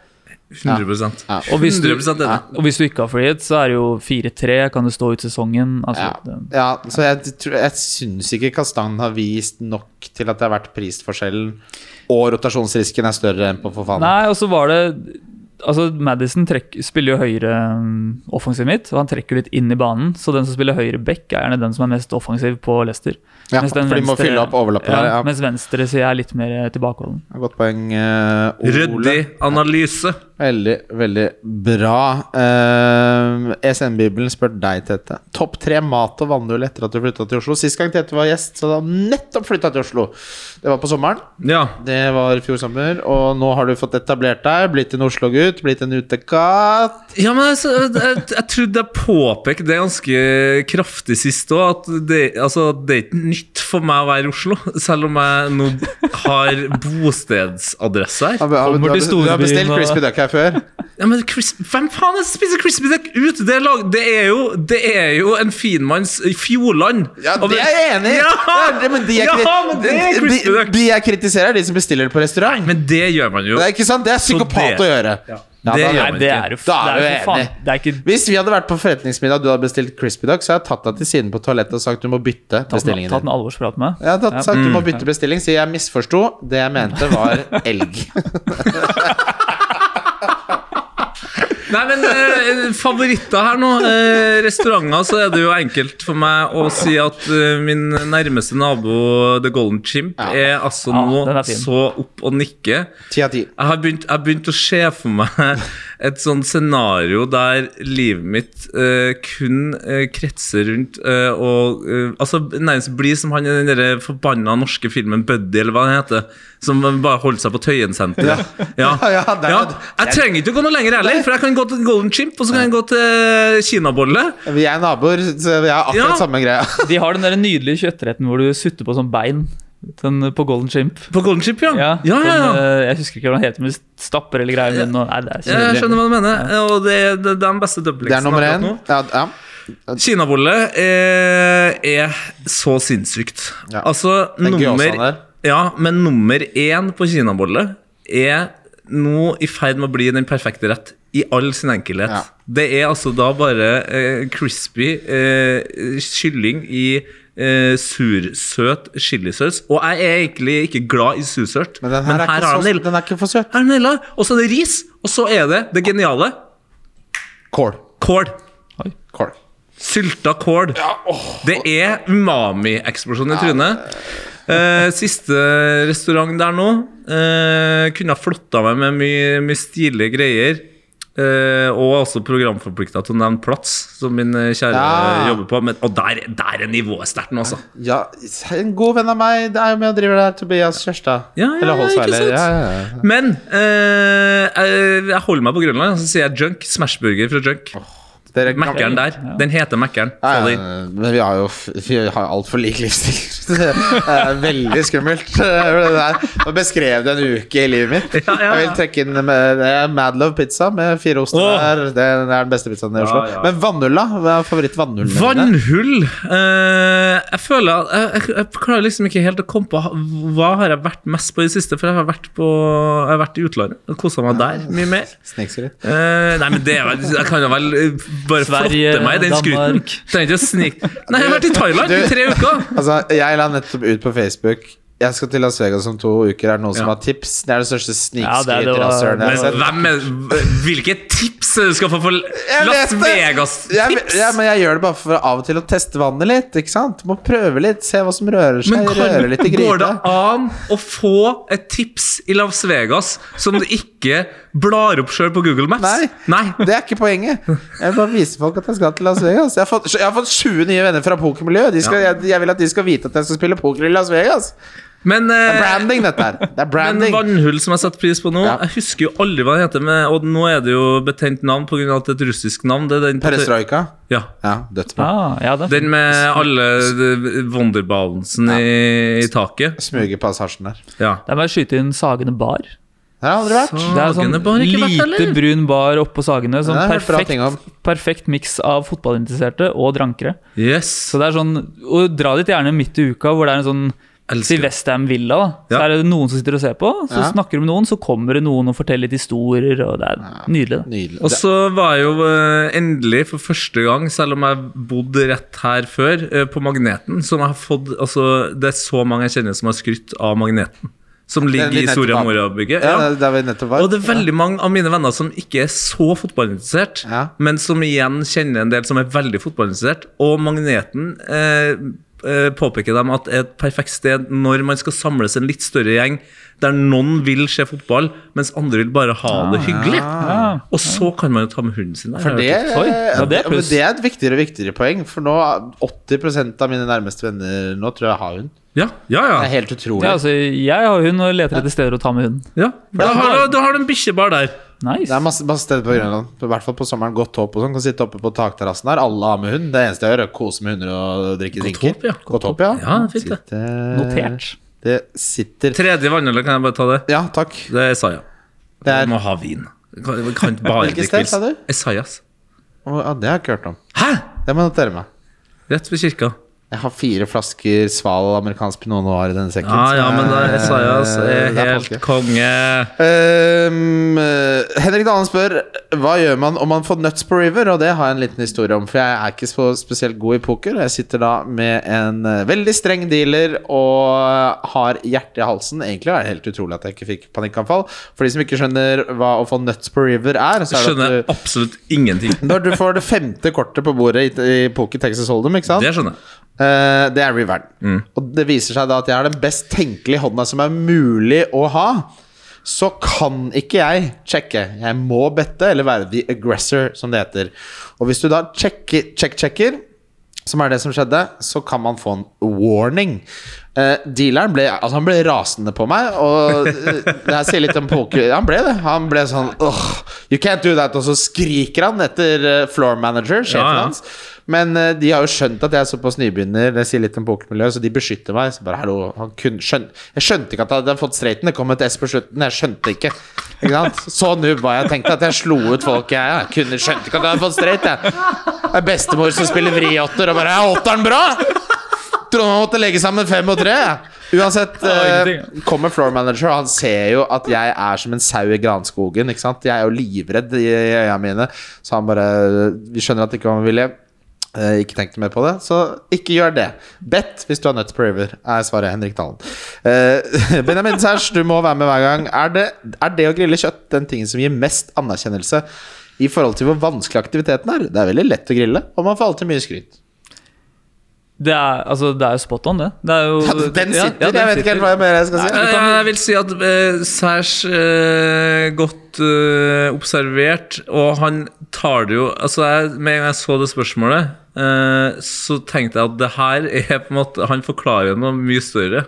100 Ja. Og hvis du- 100 enig. Og hvis du ikke har frihet, så er det jo 4-3, kan det stå ut sesongen. Altså, Ja. det- ja, så jeg, tror- jeg syns ikke Kastang har vist nok til at det har vært prisforskjellen, og rotasjonsrisken er større enn på Fofana. Nei, og så var det Altså, Madison trekk, spiller jo høyre mm, offensiv midt, og han trekker litt inn i banen. Så den som spiller høyre back, er gjerne den som er mest offensiv på Leicester. Ja, Mens den for de må venstre- fylle opp overlappet der, ja. Mens venstresida er litt mer eh, tilbakeholden. Godt poeng, eh, Ole. Ryddig analyse. Veldig, veldig bra. Uh, SN-bibelen spør deg, Tete. Topp tre mat- og vannhull etter at du flytta til Oslo. Sist gang Tete var gjest, så hadde han nettopp flytta til Oslo. Det var på sommeren. Ja. Det var i fjor sommer. Og nå har du fått etablert deg, blitt en Oslo-gutt, blitt en utekatt. Ja, men altså, jeg, jeg, jeg trodde jeg påpekte det ganske kraftig sist òg, at det, altså, det er ikke nytt for meg å være i Oslo, selv om jeg nå har bostedsadresse her. Kommer til du har bestilt storbyen og- Crispy Duck her før. Ja, men Chris, Hvem faen er det som spiser crispy duck ute? Det er, lag, det er, jo, det er jo en finmanns Fjordland. Ja, Og det er jeg enig i! Ja! Ja, det- men de jeg Ja, kri- men det er Crispy de, Duck. de jeg kritiserer, er de som bestiller det på restaurant. Men det gjør man jo. det er ikke sant? Det er psykopat det- å gjøre. Ja, det da- gjør Nei, det er jo Da er det du for faen- enig. Det er ikke Hvis vi hadde vært på forretningsmiddag og du hadde bestilt Crispy Duck, så hadde jeg tatt deg til siden på toalettet og sagt du må bytte tatt en, bestillingen tatt en din. alvorsprat med. Jeg hadde tatt, sagt du må bytte bestilling, så jeg misforsto. Det jeg mente, var elg. Nei, men eh, favoritter her nå. Eh, restauranter, så er det jo enkelt for meg å si at eh, min nærmeste nabo, The Golden Chimp, er altså Ja, nå den er fin. så opp og nikker. Ti av ti. Jeg har, begynt, jeg har begynt å se for meg et sånn scenario der livet mitt eh, kun eh, kretser rundt eh, og eh, Altså nærmest blir som han i den der forbanna norske filmen Buddy, eller hva den heter. Som bare holdt seg på Tøyensenteret. Ja. Ja, ja, det er- Jeg trenger ikke å gå noe lenger heller, for jeg kan gå til Golden Chimp, og så kan jeg gå til eh, Kinabolle. Vi er naboer, så vi har akkurat Ja. samme greia. De har den der nydelige kjøttretten hvor du sutter på sånn bein. Den eh, på Golden Chimp. På Golden Chimp, ja. Ja, ja, sånn, ja, ja. eh, jeg husker ikke hva den heter, men stapper eller greier i munnen. og- Nei, det er Ja, Jeg skjønner kjedelig. hva du mener. Og det, det, det er den beste Det er dubbeleksen nummer akkurat én. nå. Ja, ja. Kinabolle eh, er så sinnssykt. Ja. Altså, Den gyozaen nummer der. Ja, men nummer én på kinabolle er nå i ferd med å bli den perfekte rett i all sin enkelhet. Ja. Det er altså da bare eh, crispy eh, kylling i eh, sursøt chilisaus. Og jeg er egentlig ikke glad i sursøt, Men den her, er, har ikke så, den den er ikke for søt. her er den naila. Og så er det ris, og så er det det geniale Kål. kål. Kål. Sylta kål. Det er umami-eksplosjon i trynet. Eh, siste restaurant der nå. eh, kunne ha flotta meg med mye, mye stilige greier. Eh, og også programforplikta til å nevne Plats, som min eh, kjære Ja. jobber på. Men, og der, der er nivået sterkt nå, altså. Ja, en god venn av meg det er jo med og driver der, Tobias Kjørstad. Ja, ja, Eller ja, ikke Holsweiler. sant? Ja, ja, ja. Men eh, jeg, jeg holder meg på Grønland, og så sier jeg Junk. Smashburger fra Junk. Dere kan- Mækkeren der. Den heter Mækkeren. Ja, Få det inn. ja, men vi har jo f- vi har jo altfor lik livsstil. Det er Veldig skummelt. eh, det der. Nå beskrev du en uke i livet mitt. Ja, ja, Jeg vil ja. trekke inn med, det er Mad Love pizza med fire oster Åh. der. Det er den beste pizzaen i Oslo. Ja, ja. Men vannhull, da? Hva er favorittvannhullen din? Vannhull eh, Jeg føler at jeg, jeg, jeg klarer liksom ikke helt å komme på hva har jeg vært mest på i det siste. For jeg har vært, på, jeg har vært i utlandet og kosa meg der mye mer. Snikskritt. Eh, nei, men det er vel Jeg kan jo vel eh, bare Sverige, flotte meg i den skryten. Danmark. Trenger ikke å snike Nei, jeg har vært i Thailand i Du- tre uker! Altså, jeg la nettopp ut på Facebook Jeg skal til Las Vegas om to uker. Er det noen som Ja. har tips? Det er det største Ja, det er det snikskryterassøren var- jeg har Men sett. hvem er, hvilke tips er det du skal få for Las vet det. Jeg, Vegas-tips? ja, men jeg gjør det bare for av og til å teste vannet litt. Ikke sant? Må prøve litt, se hva som rører seg. Men kan, røre litt i går det gryta. an å få et tips i Las Vegas som du ikke blar opp sjøl på Google Maps? Nei. Det er ikke poenget. Jeg vil bare vise folk at jeg skal til Las Vegas. Jeg har fått, jeg har fått 20 nye venner fra pokermiljøet. De skal, jeg, jeg vil at de skal vite at jeg skal spille poker i Las Vegas. Men, Det er eh, branding, dette her. Det er men branding. vannhull som jeg setter pris på nå Ja. Jeg husker jo aldri hva det heter, men, og nå er det jo betent navn pga. at det er et russisk navn. Det er den, Perestrojka. ja, Ja, dødsbra. Ah, ja, det er den med alle de- Wonderbouncen i, i taket. Smuger på hasjen der. Ja. Der må jeg skyte inn Sagene bar. Der har jeg aldri vært. Det er sånn Sagene bar ikke vært, lite eller? brun bar oppå Sagene. Sånn Det har jeg hørt bra ting om. perfekt, perfekt miks av fotballinteresserte og drankere. Yes. Så det er sånn, og Dra dit gjerne midt i uka, hvor det er en sånn Si Elsker. Westham Villa, da. Så Ja. er det noen som sitter og ser på. Så Ja. snakker du med noen, så kommer det noen og forteller litt historier. og Det er nydelig. da. Nydelig. Og så var jeg jo eh, endelig for første gang, selv om jeg bodde rett her før, eh, på Magneten. Som jeg har fått, altså, det er så mange jeg kjenner som har skrytt av Magneten. Som ligger Den i vi nettopp Soria var. Moria-bygget. Ja, Ja. der vi nettopp var. Og det er veldig mange av mine venner som ikke er så fotballinteressert, Ja. men som igjen kjenner en del som er veldig fotballinteressert. Og Magneten eh, eh, påpeker dem at er et perfekt sted når man skal samles en litt større gjeng, der noen vil se fotball, mens andre vil bare ha det hyggelig. Ja. Og så kan man jo ta med hunden sin der. Ah, For det, jeg har hørt. Oi, ja, det er men pluss. det er et viktigere og viktigere poeng, for nå 80 av mine nærmeste venner nå tror jeg har hund. Ja, ja, Det er ja. helt utrolig. Ja, altså, jeg har hund og leter etter steder å ta med hunden. ja. Da, har du, da har du en bikkjebar der. Nice. Det er masse, masse steder på Grønland, på- i hvert fall på sommeren. Godt håp og sånn. Kan sitte oppe på takterrassen der. Alle har med hund. Det eneste jeg gjør, er å kose med hunder og drikke Godt drinker. håp, ja. Godt håp, ja. Ja, fint det. Sitter- Notert. Det sitter Tredje vannhullet, kan jeg bare ta det? Ja, takk. Det er Isaiah. Det er Du må ha vin. Du Kan, du kan ikke bare Hvilket sted, drikke pils. sa du? Esaias. Å, ja, Det har jeg ikke hørt om. Hæ?! Det må jeg notere meg. Rett ved kirka. Jeg har fire flasker sval amerikansk pinot noir i denne sekken. så Ja, Ah, ja, men da, jeg- Esaias er Eh, det er eh, helt påske. konge. Ehm, eh, Henrik Dahlen spør Hva gjør man om man får nuts på river? Og det har jeg en liten historie om, for jeg er ikke så spesielt god i poker. og Jeg sitter da med en eh, veldig streng dealer og har hjertet i halsen. Egentlig er det helt utrolig at jeg ikke fikk panikkanfall. For de som ikke skjønner hva å få nuts på river er, så er det Skjønner at du, absolutt ingenting. når du får det femte kortet på bordet i, i Poker Texas Hold'em, ikke sant? Det skjønner jeg. Eh, det er riveren. Mm. Og det viser seg da at jeg har den best tenkelige hånda som er mulig å ha. Så kan ikke jeg sjekke. Jeg må bette, eller være the aggressor, som det heter. Og hvis du da sjekker, check-checker, som er det som skjedde, så kan man få en warning. Eh, dealeren ble, altså han ble rasende på meg, og eh, det her sier litt om poker Han ble det. Han ble sånn Åh, You can't do that. Og så skriker han etter eh, floor manager, sjefen Ja, ja. hans. Men eh, de har jo skjønt at jeg er såpass nybegynner, det sier litt om pokermiljøet, så de beskytter meg. Så bare, hallo, han kunne, skjøn, jeg skjønte ikke at jeg hadde fått straighten. Det kom et S på slutten. Jeg skjønte ikke. ikke sant? Så noob var jeg. Tenkte at jeg slo ut folk jeg, jeg kunne, skjønte ikke at jeg hadde fått straight. Jeg. Det er bestemor som spiller vriåtter og bare Jeg holdt den bra! Trodde man måtte legge sammen fem og tre. Uansett, Ja, eh, ingenting. kommer floor manager, og han ser jo at jeg er som en sau i granskogen. Ikke sant? Jeg er jo livredd i i øya mine, så han bare Vi skjønner at det ikke var med vilje. Eh, ikke tenkte mer på det, så ikke gjør det. Bet hvis du har nuts på river, er svaret Henrik Dalen. Eh, Benjamin Sæsj, du må være med hver gang. Er det, er det å grille kjøtt den tingen som gir mest anerkjennelse i forhold til hvor vanskelig aktiviteten er? Det er veldig lett å grille, og man får alltid mye skryt. Det er, altså, det er jo spot on, det. det er jo, Den ja, sitter! ja, den jeg vet ikke sitter. helt hva jeg mer jeg skal si. Eh, Jeg vil si at eh, særs eh, godt eh, observert, og han tar det jo Altså, jeg, med en gang jeg så det spørsmålet, eh, så tenkte jeg at det her er på en måte Han forklarer noe mye større.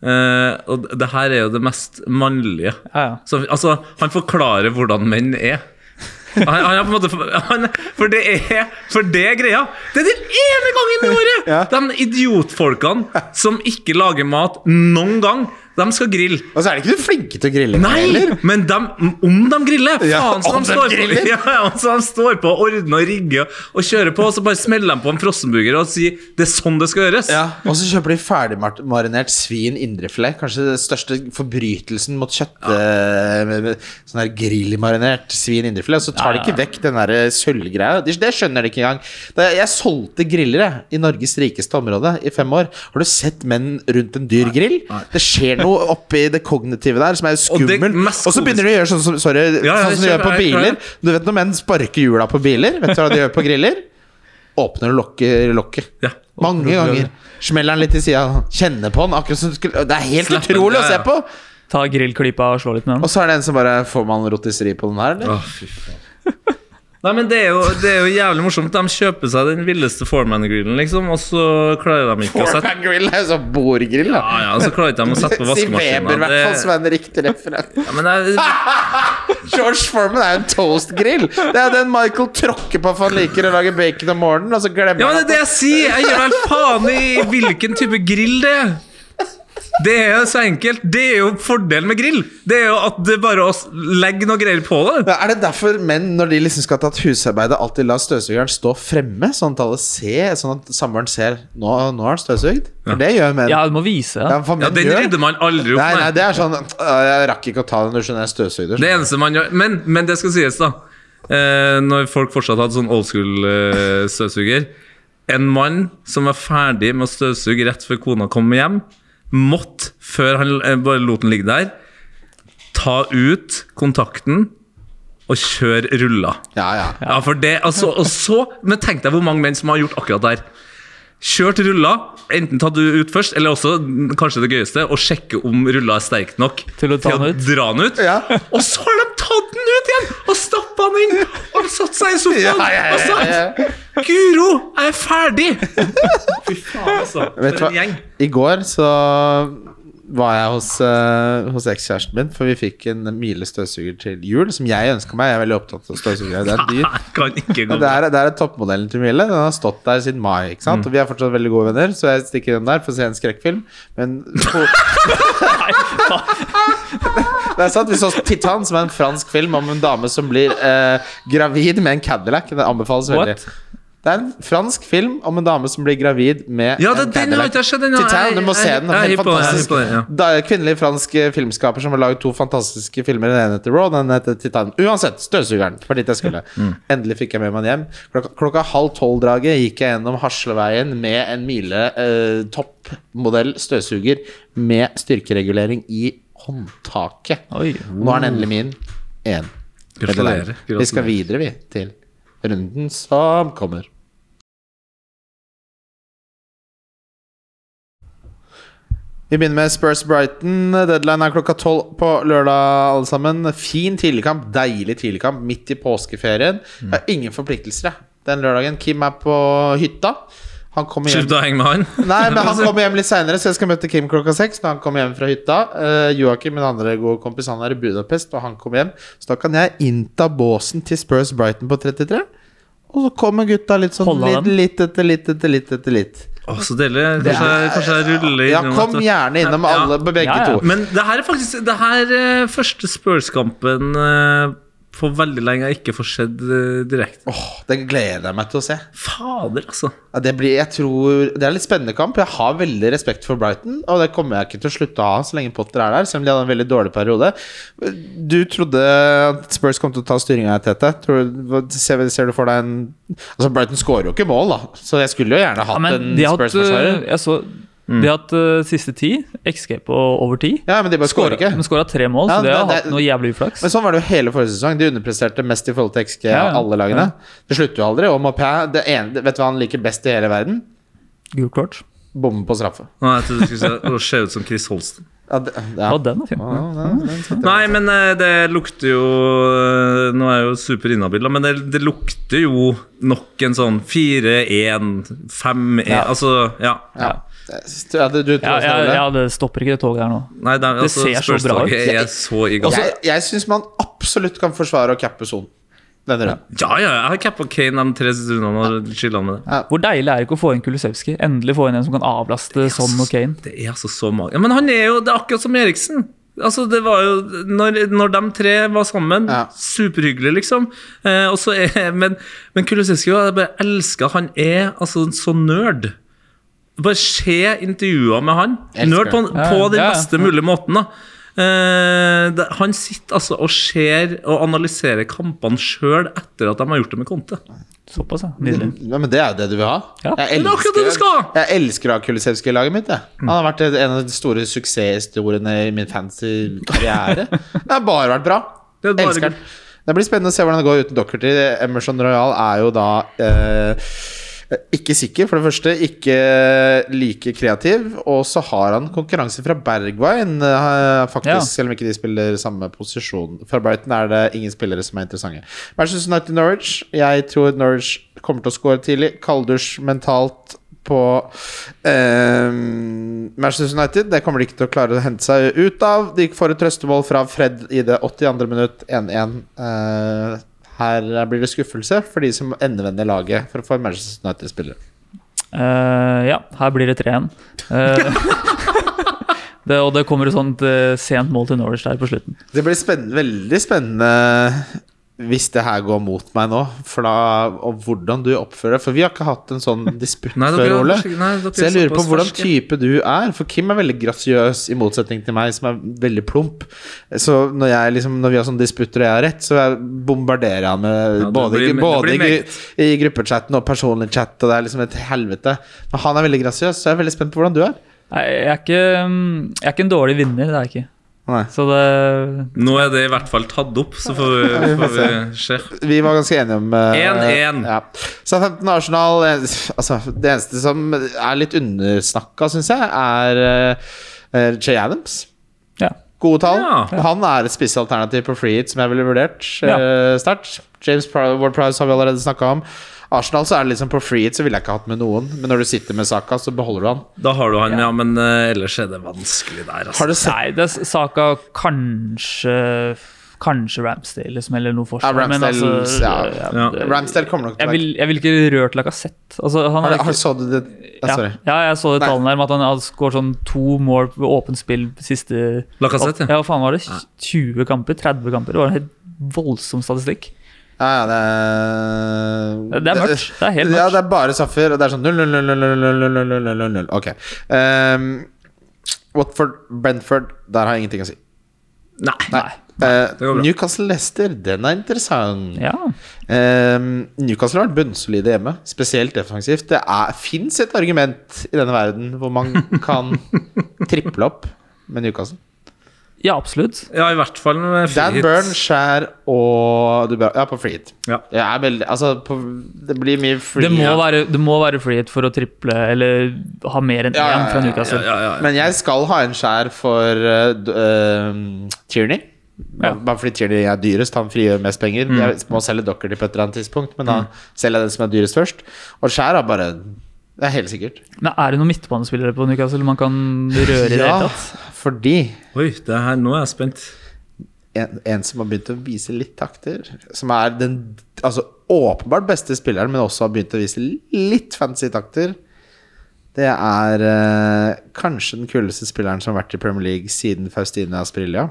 Eh, og det her er jo det mest mannlige. Ja, ja. Så, altså, han forklarer hvordan menn er. Han, han er på en måte for, han, for det er For det er greia! Det er den ene gangen i året! Ja. De idiotfolkene som ikke lager mat noen gang, de skal grille. Og så er de ikke noe flinke til å grille. Nei, heller. men dem- om de griller! Ja, Faen, så om de, de står på, griller. ja, ja, så de står på og ordner og rigger og kjører på, og så bare smeller de på en frossenburger og sier 'det er sånn det skal gjøres'. Ja, og så kjøper de ferdigmarinert svin indrefilet. Kanskje den største forbrytelsen mot kjøtt eh, Sånn her grillmarinert svin indrefilet. Og så tar de ikke vekk den der eh, sølvgreia. De- Det skjønner de ikke engang. Da jeg solgte griller jeg, i Norges rikeste område i fem år. Har du sett menn rundt en dyr grill? Det skjer noe oppi det kognitive der som er Og det skummelt. mest Og så begynner de å gjøre sånn som Sorry, Ja, ja, sånn som de kjør, gjør på jeg er klar. biler. Du vet når menn sparker hjula på biler? Vet du hva de gjør på griller? Åpner og lokker lokket. Ja. Mange ganger. Smeller den litt i sida. Kjenner på den. akkurat som du skulle Det er helt Slapp den, utrolig ja, å se ja. på! Ta grillklypa og slå litt med den. Og så er det en som bare Får man rotisseri på den her, eller? Åh, fy faen. Nei, men det er, jo, det er jo jævlig morsomt. De kjøper seg den villeste Foreman-grillen, liksom, og så klarer de ikke å sette Foreman grill er jo sånn bordgrill, da. ja, ja, og så klarer ikke de å sette på Si Weber, i vaskemaskinen. hvert fall, som Det, er en riktig referent. ja, men det, er- George Foreman er jo en toastgrill! Det er den Michael tråkker på for han liker å lage bacon om morgenen, og så glemmer ja, han men det er det jeg sier! Jeg gir vel faen i hvilken type grill det er. Det er jo så enkelt. Det er jo fordelen med grill. Det er jo at det bare er å legge noe greier på det. Ja, Er det derfor menn, når de liksom skal ta et husarbeid, alltid lar støvsugeren stå fremme? Sånn at alle ser, sånn at samboeren ser Nå, nå har han støvsugd. For det gjør menn. Ja, du må vise. Ja. Ja, for Ja, menn Den gjør- rydder man aldri opp. Nei, med. nei, det er sånn «Øh, Jeg rakk ikke å ta den, du skjønner, jeg støvsugde. Det eneste man gjør Men, men det skal sies, da. Eh, når folk fortsatt hadde sånn old school-støvsuger. en mann som var ferdig med å støvsuge rett før kona kom hjem, måtte, før han eh, bare lot den ligge der, ta ut kontakten og kjøre ruller. Ja, ja. Ja, for det, altså, og så, men tenk deg hvor mange menn som har gjort akkurat der. Kjørt ruller, enten tatt du ut først, eller også, mm, kanskje det gøyeste, å sjekke om rulla er sterk nok Til å ta den ut. dra den ut. Ja. Og så har de tatt den ut igjen og stappa den inn og satt seg i sofaen Ja, ja, ja, altså! ja, ja. og sagt 'Guro, jeg er ferdig'. Fy faen, altså. Vet du For en hva? gjeng. I går så var jeg hos, eh, hos ekskjæresten min, for vi fikk en Miele støvsuger til jul, som jeg ønska meg. Jeg er veldig opptatt av støvsugere. Det er dyrt. Nei, kan ikke gå. Det er, det er toppmodellen til Miele. Den har stått der siden mai. ikke Mm. sant? Og vi er fortsatt veldig gode venner, så jeg stikker den der for å se en skrekkfilm. Men Det er sant, Vi så Titan, som er en fransk film om en dame som blir eh, gravid med en Cadillac. Den anbefales What? veldig. Det er en fransk film om en dame som blir gravid med Ja, det, en den har ikke jeg sett ennå. Titan, du må Jeg- se jeg- den. den er jeg er helt hypp på den, jeg er fantastisk. hypp på den, ja. Da er Kvinnelig fransk eh, filmskaper som har laget to fantastiske filmer. Den ene heter Raw, den heter Titan. Uansett, støvsugeren. For dit jeg skulle. Endelig fikk jeg med meg den hjem. Klokka, klokka halv tolv-draget gikk jeg gjennom Hasleveien med en mile eh, toppmodell støvsuger med styrkeregulering i håndtaket. Oi. Nå er den endelig min. Én. Gratulerer. Vi skal Gratulerer. videre, vi, til runden som kommer. Vi begynner med Spurs Brighton. Deadline er klokka tolv på lørdag, alle sammen. Fin tidligkamp. Deilig tidligkamp midt i påskeferien. Mm. Jeg har ingen forpliktelser jeg, den lørdagen. Kim er på hytta. Han kommer hjem Slutt å henge med han. Nei, men han kommer hjem litt seinere, så jeg skal møte Kim klokka seks. Når han kommer hjem fra hytta Eh, Joakim, min andre gode kompis, han er i Budapest, og han kommer hjem. Så da kan jeg innta båsen til Spurs Brighton på 33. Og så kommer gutta litt sånn Holde litt, dem. litt etter litt etter litt etter litt. Å, så deilig. Kanskje, jeg- kanskje jeg ruller Ja, innom kom dette. gjerne innom Ja. alle, begge Ja, ja. to. Men det her er faktisk Det her er første Spurs-kampen eh, for veldig lenge jeg ikke får sett eh, direkte. Åh, det gleder jeg meg til å se. Fader, altså. Ja, det, blir, jeg tror, det er en litt spennende kamp. Jeg har veldig respekt for Brighton, og det kommer jeg ikke til å slutte å ha så lenge Potter er der, selv om de hadde en veldig dårlig periode. Du trodde at Spurs kom til å ta styringa i tete. Tror, hva- ser, ser du for deg en Altså, Brighton skårer jo ikke mål, da, så jeg skulle jo gjerne hatt Ja, men en de har hatt, Spurs-forsvarer. øh, jeg så, Mm. de har hatt øh, siste ti, XG på over ti. Ja, men de bare skårer ikke. De skåra tre mål, Ja, så de har det- det- hatt noe jævlig uflaks. Men sånn var det jo hele forrige sesong. De underpresterte mest i forhold til XG Ja, av ja. alle lagene. Det slutter jo aldri. Og Maupin, det ene, vet du hva han liker best i hele verden? Gult kort. Bommer på straffe. Nå, jeg trodde du skulle se, å, se ut som Chris Holsten. Ja, det, ja. Ja, den er fin. Ja, den- den sitter. Nei, men eh, det lukter jo eh, Nå er jeg jo super inhabil, da, men det, det lukter jo nok en sånn sån 4-1, 5-1 Ja. Altså, ja. Ja. Ja, du, du tror Ja, også ja, det? ja, det stopper ikke det toget her nå. Nei, det, altså, ser så bra ut. Spurs-laget er så i gang. jeg jeg syns man absolutt kan forsvare å cappe sonen denne runden. Ja, ja, jeg har cappa Kane de tre siste rundene og chilla med det. Hvor deilig er det ikke å få inn Kulisevskij? Endelig få inn en som kan avlaste Son og Kane. Det er altså så mange. Ja, men han er jo Det er akkurat som Eriksen. Altså, det var jo Når, når de tre var sammen, Ja. superhyggelig, liksom. Eh, og så er Men, men Kulisevskij jeg bare elsker Han er altså så nerd. Bare se intervjuer med han. Elsker. Nerd på, på den Ja, ja. beste mulige måten, da. Eh, det, han sitter altså og ser og analyserer kampene sjøl etter at de har gjort det med Conte. Såpass, ja. Nydelig. Mm. Ja, men det er jo det du vil ha. Ja. Jeg Men det er akkurat det du skal Mm. ha! jeg elsker å ha Kulisevskij i laget mitt. Jeg. Han har vært en av de store suksesshistoriene i min fancy karriere. Det har bare vært bra. Det er bare elsker gull. den. Det blir spennende å se hvordan det går uten Dockerty. Emerson Royal er jo da eh, ikke sikker, for det første. Ikke eh, like kreativ. Og så har han konkurranse fra Bergwijn, eh, faktisk, Ja. selv om ikke de spiller samme posisjon. For Brighton er det ingen spillere som er interessante. Versus United Norwich. Jeg tror Norwich kommer til å score tidlig. Kalddusj mentalt på eh, Manchester United. Det kommer de ikke til å klare å hente seg ut av. De får et trøstemål fra Fred i det 82. minutt, 1-1. Eh, her blir det skuffelse for de som endevender laget for å få en Manchester United-spillere. Eh, ja, her blir det 3-1. Eh, det, og det kommer et sånt eh, sent mål til Norwich der på slutten. Det blir spennende, veldig spennende hvis det her går mot meg nå, for da, og hvordan du oppfører deg. For vi har ikke hatt en sånn disputt Nei, dere før, er- Ole. nei, dere er Så jeg lurer på såpass hvordan ferske. type du er. For Kim er veldig grasiøs, i motsetning til meg, som er veldig plump. Så når, jeg, liksom, når vi har sånne disputter og jeg har rett, så jeg bombarderer han med det både, blir- det både blir i, gru- i gruppechatten og personlig chat, og det er liksom et helvete. Men han er veldig grasiøs, så jeg er veldig spent på hvordan du er. Nei, jeg er ikke, mm, jeg er ikke en dårlig vinner, det er jeg ikke. Nei. Så det Nå er det i hvert fall tatt opp, så får vi, får vi se. Vi var ganske enige om eh, 1-1. Ja. Så 15 Arsenal eh, altså, Det eneste som er litt undersnakka, syns jeg, er uh, Jay Adams. Ja. Gode tall. Ja. Han er et spissalternativ på free hit, som jeg ville vurdert eh, sterkt. James Pri- Ward-Prowse har vi allerede snakka om. Arsenal så er det liksom på free hit så ville jeg ikke hatt med noen, men når du sitter med Saka, så beholder du han. Da har du han, ja, men eh, ellers er det vanskelig der, altså. Har du sett Nei, det er saka kanskje Kanskje Ramsdale, liksom, eller noe ja, forskjell. men Ramsdale altså, ja. ja. det- Ramsdale kommer nok Jeg til å vil, jeg vil ikke rørt Lacassette. Altså, han Har er du- har- ikke- Så du det? Ja, sorry. Ja, ja, jeg så de Nei. tallene der med at han hadde skåret sånn to mål ved åpent spill siste Lacazette, ja. ja. hva faen var det? 20 kamper? 30 kamper? Det var en helt voldsom statistikk. Ja, ja, det er Det er mørkt. Det er helt mørkt. Ja, det er bare saffer, og det er sånn 0-0-0-0-0-0-0-0-0. Ok. Ehm, Watford, Brentford, der har jeg ingenting å si. Nei. Nei. Eh, går bra. Newcastle-Leicester, den er interessant. Ja. Ehm, Newcastle har vært bunnsolide hjemme, spesielt defensivt. Det fins et argument i denne verden hvor man kan triple opp med Newcastle. ja, absolutt. Ja, i hvert fall med Dan frihet. Burn, Skjær og du, Ja, på free hit. Ja. Det, er veldig, altså, på, det blir mye free Det må, ja. være, det må være free hit for å triple eller ha mer enn Ja, ja, én fra ja, Ja, Newcastle. ja, ja. Men jeg skal ha en skjær for eh, d- eh, Tierney. Ja. Mm. Bare fordi Tierney er dyrest, han frigjør mest penger. Jeg må selge Dockerty på et eller annet tidspunkt, men da selger jeg den som er dyrest først. Og skjær har bare Det er helt sikkert. Men er det noen midtbanespillere på Newcastle man kan røre i det hele Ja, tatt? fordi Oi, det her, nå er jeg spent. en, en som har begynt å vise litt takter, som er den altså, åpenbart beste spilleren, men også har begynt å vise litt fancy takter, det er eh, kanskje den kuleste spilleren som har vært i Premier League siden Faustina Asprilla.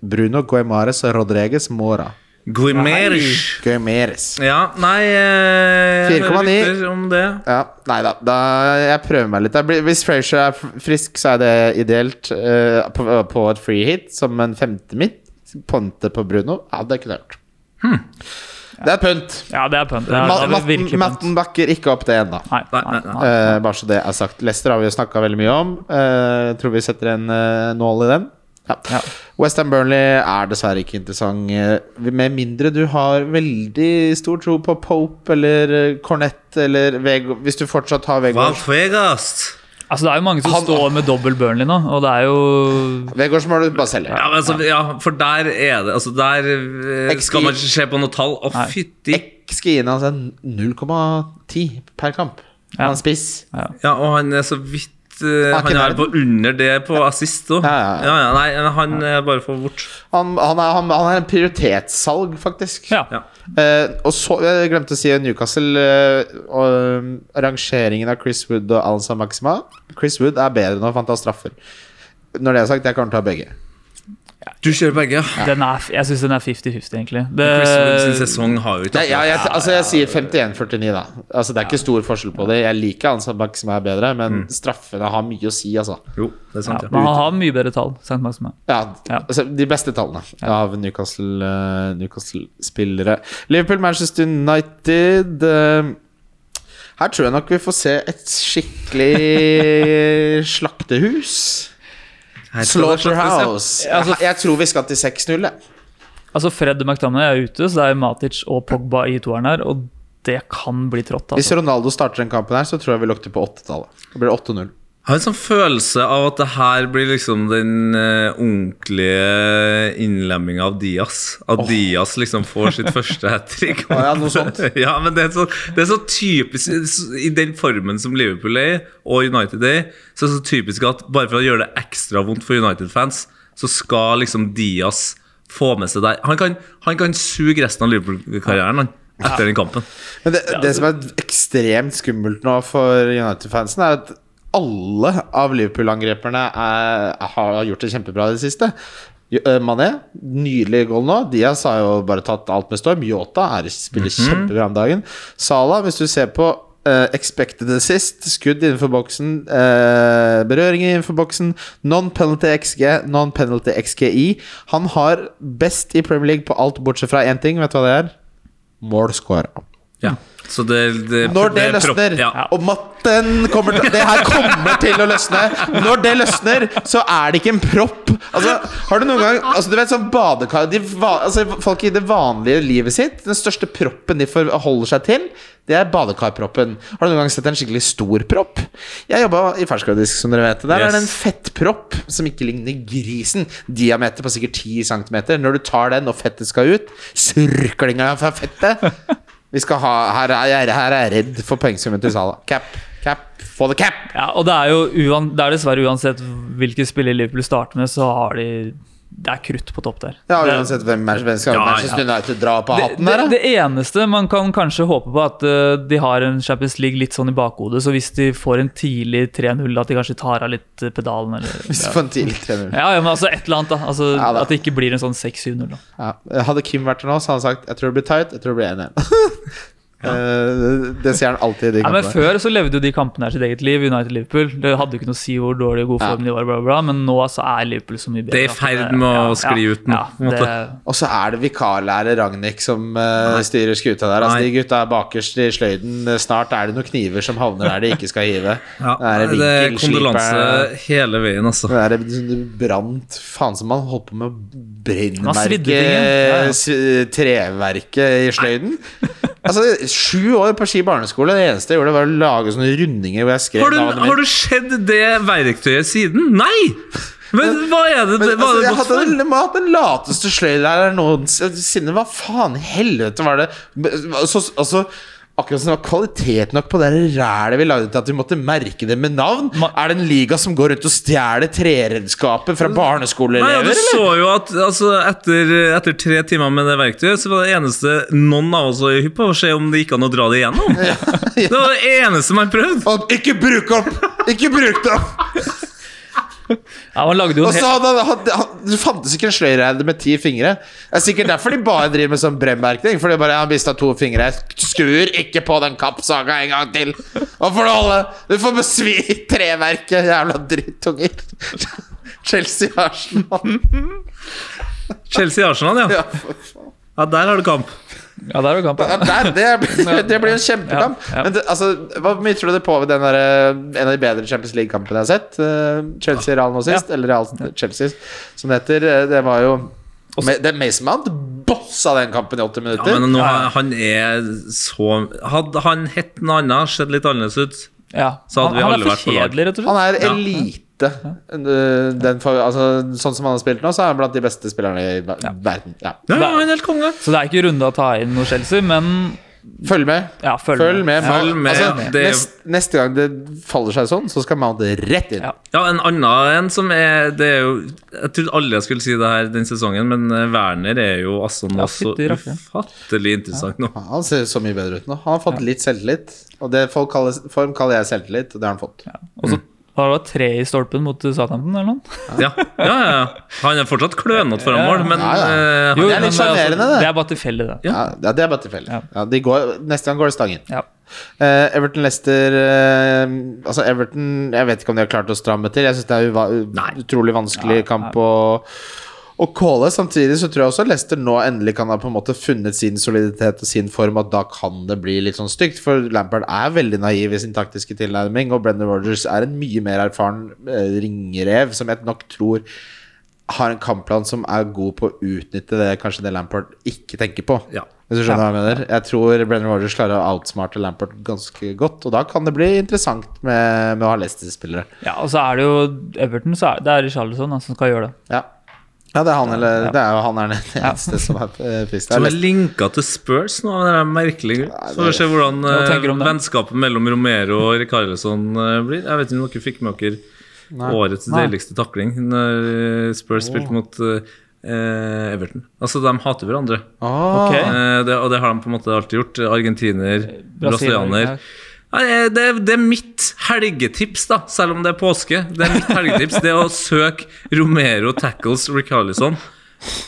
Bruno Guemares og Rodreguez Mora. Guimerish. Guemares. Ja, nei eh, jeg hører 4,9. rykter om det. Ja, nei da, da Jeg prøver meg litt. Jeg blir- Hvis Frazier er f- frisk, så er det ideelt eh, på, på et free hit som en femte mitt. Ponte på Bruno. Ja, det kunne jeg gjort. Det er pynt. Hmm. Ja, det er punt. Det er, Ma- det er Matten, virkelig punt. matten bakker ikke opp det ennå. Nei, Nei, nei, nei, nei, nei. Eh, bare så det er sagt. Leicester har vi jo snakka veldig mye om. Eh, tror vi setter en eh, nål i den. Ja. Ja. Westham Burnley er dessverre ikke interessant, eh, med mindre du har veldig stor tro på Pope eller eh, Cornett eller Vego Hvis du fortsatt har Vegårs Valfegast. Altså, det er jo mange som Han- står med dobbel Burnley nå, og det er jo Vegårs må du bare selge. Ja, men altså, ja, for der er det Altså, der eh, XG. skal man ikke se på noe tall. Å, Nei. fytti Skien hans er 0,10 per kamp. Ja. Han er spiss. Ja, og han er så vidt eh, Han er ikke Han er der. på under det på assist òg. Ja, ja, ja. nei, men han er bare for bort. Han, han, er, han, han er en prioritetssalg, faktisk. Ja. Ja. Eh, og så, jeg glemte å si Newcastle eh, og, eh, Rangeringen av Chris Wood og Alanza Maxima Chris Wood er bedre nå, for han tar straffer Når det er sagt, jeg kan ta begge Du kjører begge, ja. Den er, jeg syns den er 50-50, egentlig. Det, Chris Wood sin sesong har jo ikke Eh, Nei, ja, jeg, altså, jeg sier 51-49 da Altså det er ikke stor forskjell på det Jeg liker Alanza Maxima er bedre, men straffene har mye å si altså. Jo, det er ja, sant, ja. men han har mye bedre tall. St. Maximin. ja, Ja. Altså, De beste tallene av Newcastle, eh, Newcastle-spillere Liverpool, Manchester United eh, Her tror jeg nok vi får se et skikkelig slaktehus Her skal det slaktesel. Slaughterhouse. Altså- Jeg tror vi skal til 6-0. jeg. Altså, Fred McTamney er ute, så det er Matic og Pogba i toeren her, og det kan bli trått. Hvis Altså. Ronaldo starter den kampen her, så tror jeg vi lukter på 8-tallet. Da blir det 8-0. Jeg har en sånn følelse av at det her blir liksom den eh, ordentlige innlemminga av Diaz. At Diaz liksom får sitt første hat trick. Ja, ja, noe sånt. ja, men det er, så, det er så typisk I den formen som Liverpool er i, og United er i, så er det så typisk at bare for å gjøre det ekstra vondt for United-fans, så skal liksom Diaz få med seg deg. Han kan, han kan suge resten av Liverpool-karrieren han, etter den kampen. Men det, det som er ekstremt skummelt nå for United-fansen, er at alle av Liverpool-angreperne er- har gjort det kjempebra i det siste. Jo- eh, Mané, nydelig goal nå. Diaz har jo bare tatt alt med storm. Yota er, spiller kjempebra om dagen. Salah, hvis du ser på eh, expected assist, skudd innenfor boksen, eh, berøringer innenfor boksen, non-penalty XG, non-penalty XGI Han har best i Premier League på alt bortsett fra én ting, vet du hva det er? Mål scora. Ja. Så det, det, Når det er propp- løsner, ja. og matten kommer til Det her kommer til å løsne. Når det løsner, så er det ikke en propp. Altså, har du noen gang altså, Du vet sånn badekar de, va- altså, Folk i det vanlige livet sitt, den største proppen de forholder seg til, det er badekarproppen. Har du noen gang sett en skikkelig stor propp? Jeg jobba i ferskvaredisk, som dere vet. Der er det en Yes. fettpropp som ikke ligner grisen. Diameter på sikkert 10 cm. Når du tar den, og fettet skal ut, surklinga fra fettet Vi skal ha, her, er jeg, her er jeg redd for poengsummen til Salah. Cap, cap, få det cap! Ja, og det er jo uan, det er dessverre uansett hvilke spiller Liverpool starter med, så har de det er krutt på topp der. Ja, uansett hvem Manchester- hvem skal Ja, Manchester United dra på Det, hatten det, der, da? det eneste man kan kanskje håpe på, at eh, de har en Champions League litt sånn i bakhodet. Så hvis de får en tidlig 3-0, at de kanskje tar av litt eh, pedalen, eller Hvis du får en tidlig 3-0. ja, ja, men altså et eller annet, da. Altså, Ja, da. At det ikke blir en sånn 6-7-0. da. Ja. Hadde Kim vært her nå, så hadde han sagt 'jeg tror det blir tight', jeg tror det blir 1-1. Eh, det sier han alltid i de Ja, men kampene. Før så levde jo de kampene her sitt eget liv, United-Liverpool. Det hadde jo ikke noe å si hvor dårlig og god Ja. form de var, bla, bla, bla, men nå så er Liverpool så mye bedre. Det er i ferd med å skli ut nå, Ja, på en det, Og så er det vikarlærer Ragnhild som eh, styrer skuta der. Altså, Nei. de gutta er bakerst i sløyden. Eh, Snart er det noen kniver som havner der de ikke skal hive. Ja, det er det er vinkelsliperen- kondolanse hele veien, altså. Det er sånn brant Faen som man holdt på med å Man svidde brennmerke tingen. Ja, ja. s- Treverket i sløyden. altså, sju år på Ski barneskole, det eneste jeg gjorde, var å lage sånne rundinger hvor jeg skrev Har du, navnet mitt. har du sett det verktøyet siden? Nei! Men hva er det det Men, var altså, det jeg godt hadde for? den, jeg hadde den lateste sløydlæreren noensinne. Hva faen i helvete var det? Så, altså, akkurat som det var kvalitet nok på det der rælet vi lagde til at vi måtte merke det med navn. Ma- er det en liga som går rundt og stjeler treredskaper fra Nei, ja, barneskoleelever, du eller? så jo at altså, etter, etter tre timer med det verktøyet, så var det eneste noen av oss var hypp på, å se om det gikk an å dra det igjennom. Det var det eneste man prøvde. Og ikke bruk opp! Ikke bruk det opp! ja, man lagde jo Og en så hel, hadde, hadde, hadde, Det fantes ikke en sløyreide med ti fingre. Det er sikkert derfor de bare driver med sånn bremmerkning. For de bare har mista to fingre. Skrur ikke på den kappsaga en gang til! Nå får du holde! Du får besvi treverket, jævla drittunger. Chelsea Arsenal. Chelsea-Arsenal, ja. Ja, for faen. ja. Der har du kamp. Ja, der var kampen. Ja, der, det, blir- det blir en kjempekamp. Ja, ja. Men det, altså, hva mye tror du det påvirker den derre- en av de bedre Champions League-kampene jeg har sett? Eh, Chelsea Real nå sist, eller Real Chelsea, som det heter. eh, Det var jo Ma- det Mason Mount bossa den kampen i 80 minutter. Ja, men nå, han er så Hadde han hett noe annet, sett litt annerledes ut Ja. Så hadde vi han, alle han er vært på for lag. kjedelig, rett og slett. han er Ja. elite. Eh, Den for, altså, sånn som han har spilt nå, så er han blant de beste spillerne i ver- verden. Ja. Ja, ja, han er helt konge. Så det er ikke runde å ta inn noe Chelsea, men Mm. Følg med. ja, følg, Følg med. Følg med. Altså, Det- nest, neste gang det faller seg sånn, så skal Mount rett inn. Ja. Ja, en annen en som er Det er jo Jeg trodde alle jeg skulle si det her den sesongen, men eh, Werner er jo altså nå Ja, så fytti rakkeren. ufattelig interessant nå. Han ser så mye bedre ut nå. Han har fått litt selvtillit. Og det folk kaller, form kaller jeg selvtillit, og det har han fått. Og så var det tre i stolpen mot Southampton, eller noe? Ja, ja, ja, ja. Han er fortsatt klønete foran mål, men Ja, ja. eh, han- det er litt men, sjarmerende, det. det er bare tilfeldig, det. Ja, ja Det er bare tilfeldig. Ja. Ja. de går, neste gang går det stangen. Ja. Eh, Everton Leicester eh, Altså Everton Jeg vet ikke om de har klart å stramme til. Jeg syns det er uva Nei. utrolig vanskelig kamp å å calle. Samtidig så tror jeg også Leicester nå endelig kan ha på en måte funnet sin soliditet og sin form, at da kan det bli litt sånn stygt. For Lampard er veldig naiv i sin taktiske tilnærming, og Brendan Rogers er en mye mer erfaren eh, ringrev, som jeg nok tror har en kampplan som er god på å utnytte det kanskje det Lampard ikke tenker på. Ja. Hvis du skjønner hva jeg mener. Jeg tror Brennan Rogers klarer å outsmarte Lampard ganske godt, og da kan det bli interessant med, med å ha Leicester-spillere. ja, og så er det jo Everton, så er det er Richarlison da, som skal gjøre det. Ja. ja, det er han eller Det er jo han er den eneste som er eh, frisk. Det er Som er Leicester- linka til Spurs nå, det er merkelig. Så får vi se hvordan Hva eh, tenker du om det? vennskapet mellom Romero og Rikarlison blir. Jeg vet ikke om dere fikk med dere årets Nei. deiligste takling når eh, Spurs spilte mot eh, Everton. Altså, de hater hverandre. Åh, Ok. Eh, det, og det har de på en måte alltid gjort. Argentiner, brasilianer. ja. Nei, eh, Det, det er mitt helgetips, da, selv om det er påske. Det er mitt helgetips Det er å søke Romero tackles Ricarlison.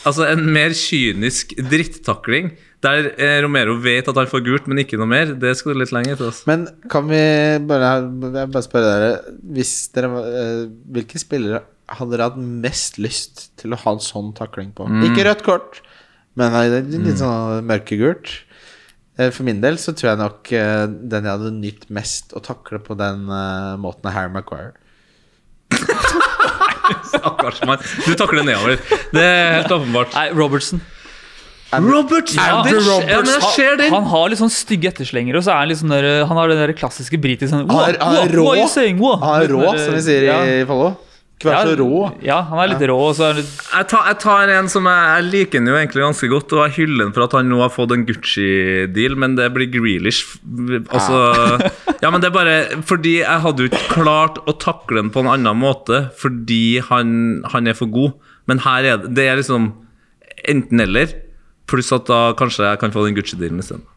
Altså en mer kynisk drittakling der eh, Romero vet at han får gult, men ikke noe mer. Det skal litt lenge til. Altså. Men kan vi bare, jeg bare spørre dere Hvis dere eh, Hvilke spillere hadde dere hatt mest lyst til å ha en sånn takling på? Mm. Ikke rødt kort, men eh, litt litt sånn mørkegult. Eh, For min del så tror jeg nok eh, den jeg hadde nytt mest å takle på den eh, måten, er Harry Maguire. Stakkars mann. Du takler nedover. Det er helt åpenbart. Nei, Robertson. Robert! Ja, det, Roberts- ja, men jeg ser den. Han, han har litt sånn stygge etterslengere, og så er han litt sånn der, han har den der klassiske britiske sånn, Han er, han er "What- rå, what are you saying, what?" han er rå Litt som mer, vi sier ja. i Follo. Ikke vær så rå. Ja, han er litt rå, og så er han litt Jeg tar, jeg tar en som jeg, jeg liker den jo egentlig ganske godt, og jeg hyller den for at han nå har fått en Gucci-deal, men det blir Grealish. Altså, ja, men det er bare fordi jeg hadde jo ikke klart å takle den på en annen måte, fordi han, han er for god. Men her er det, det er liksom enten-eller, pluss at da kanskje jeg kan få den Gucci-dealen isteden.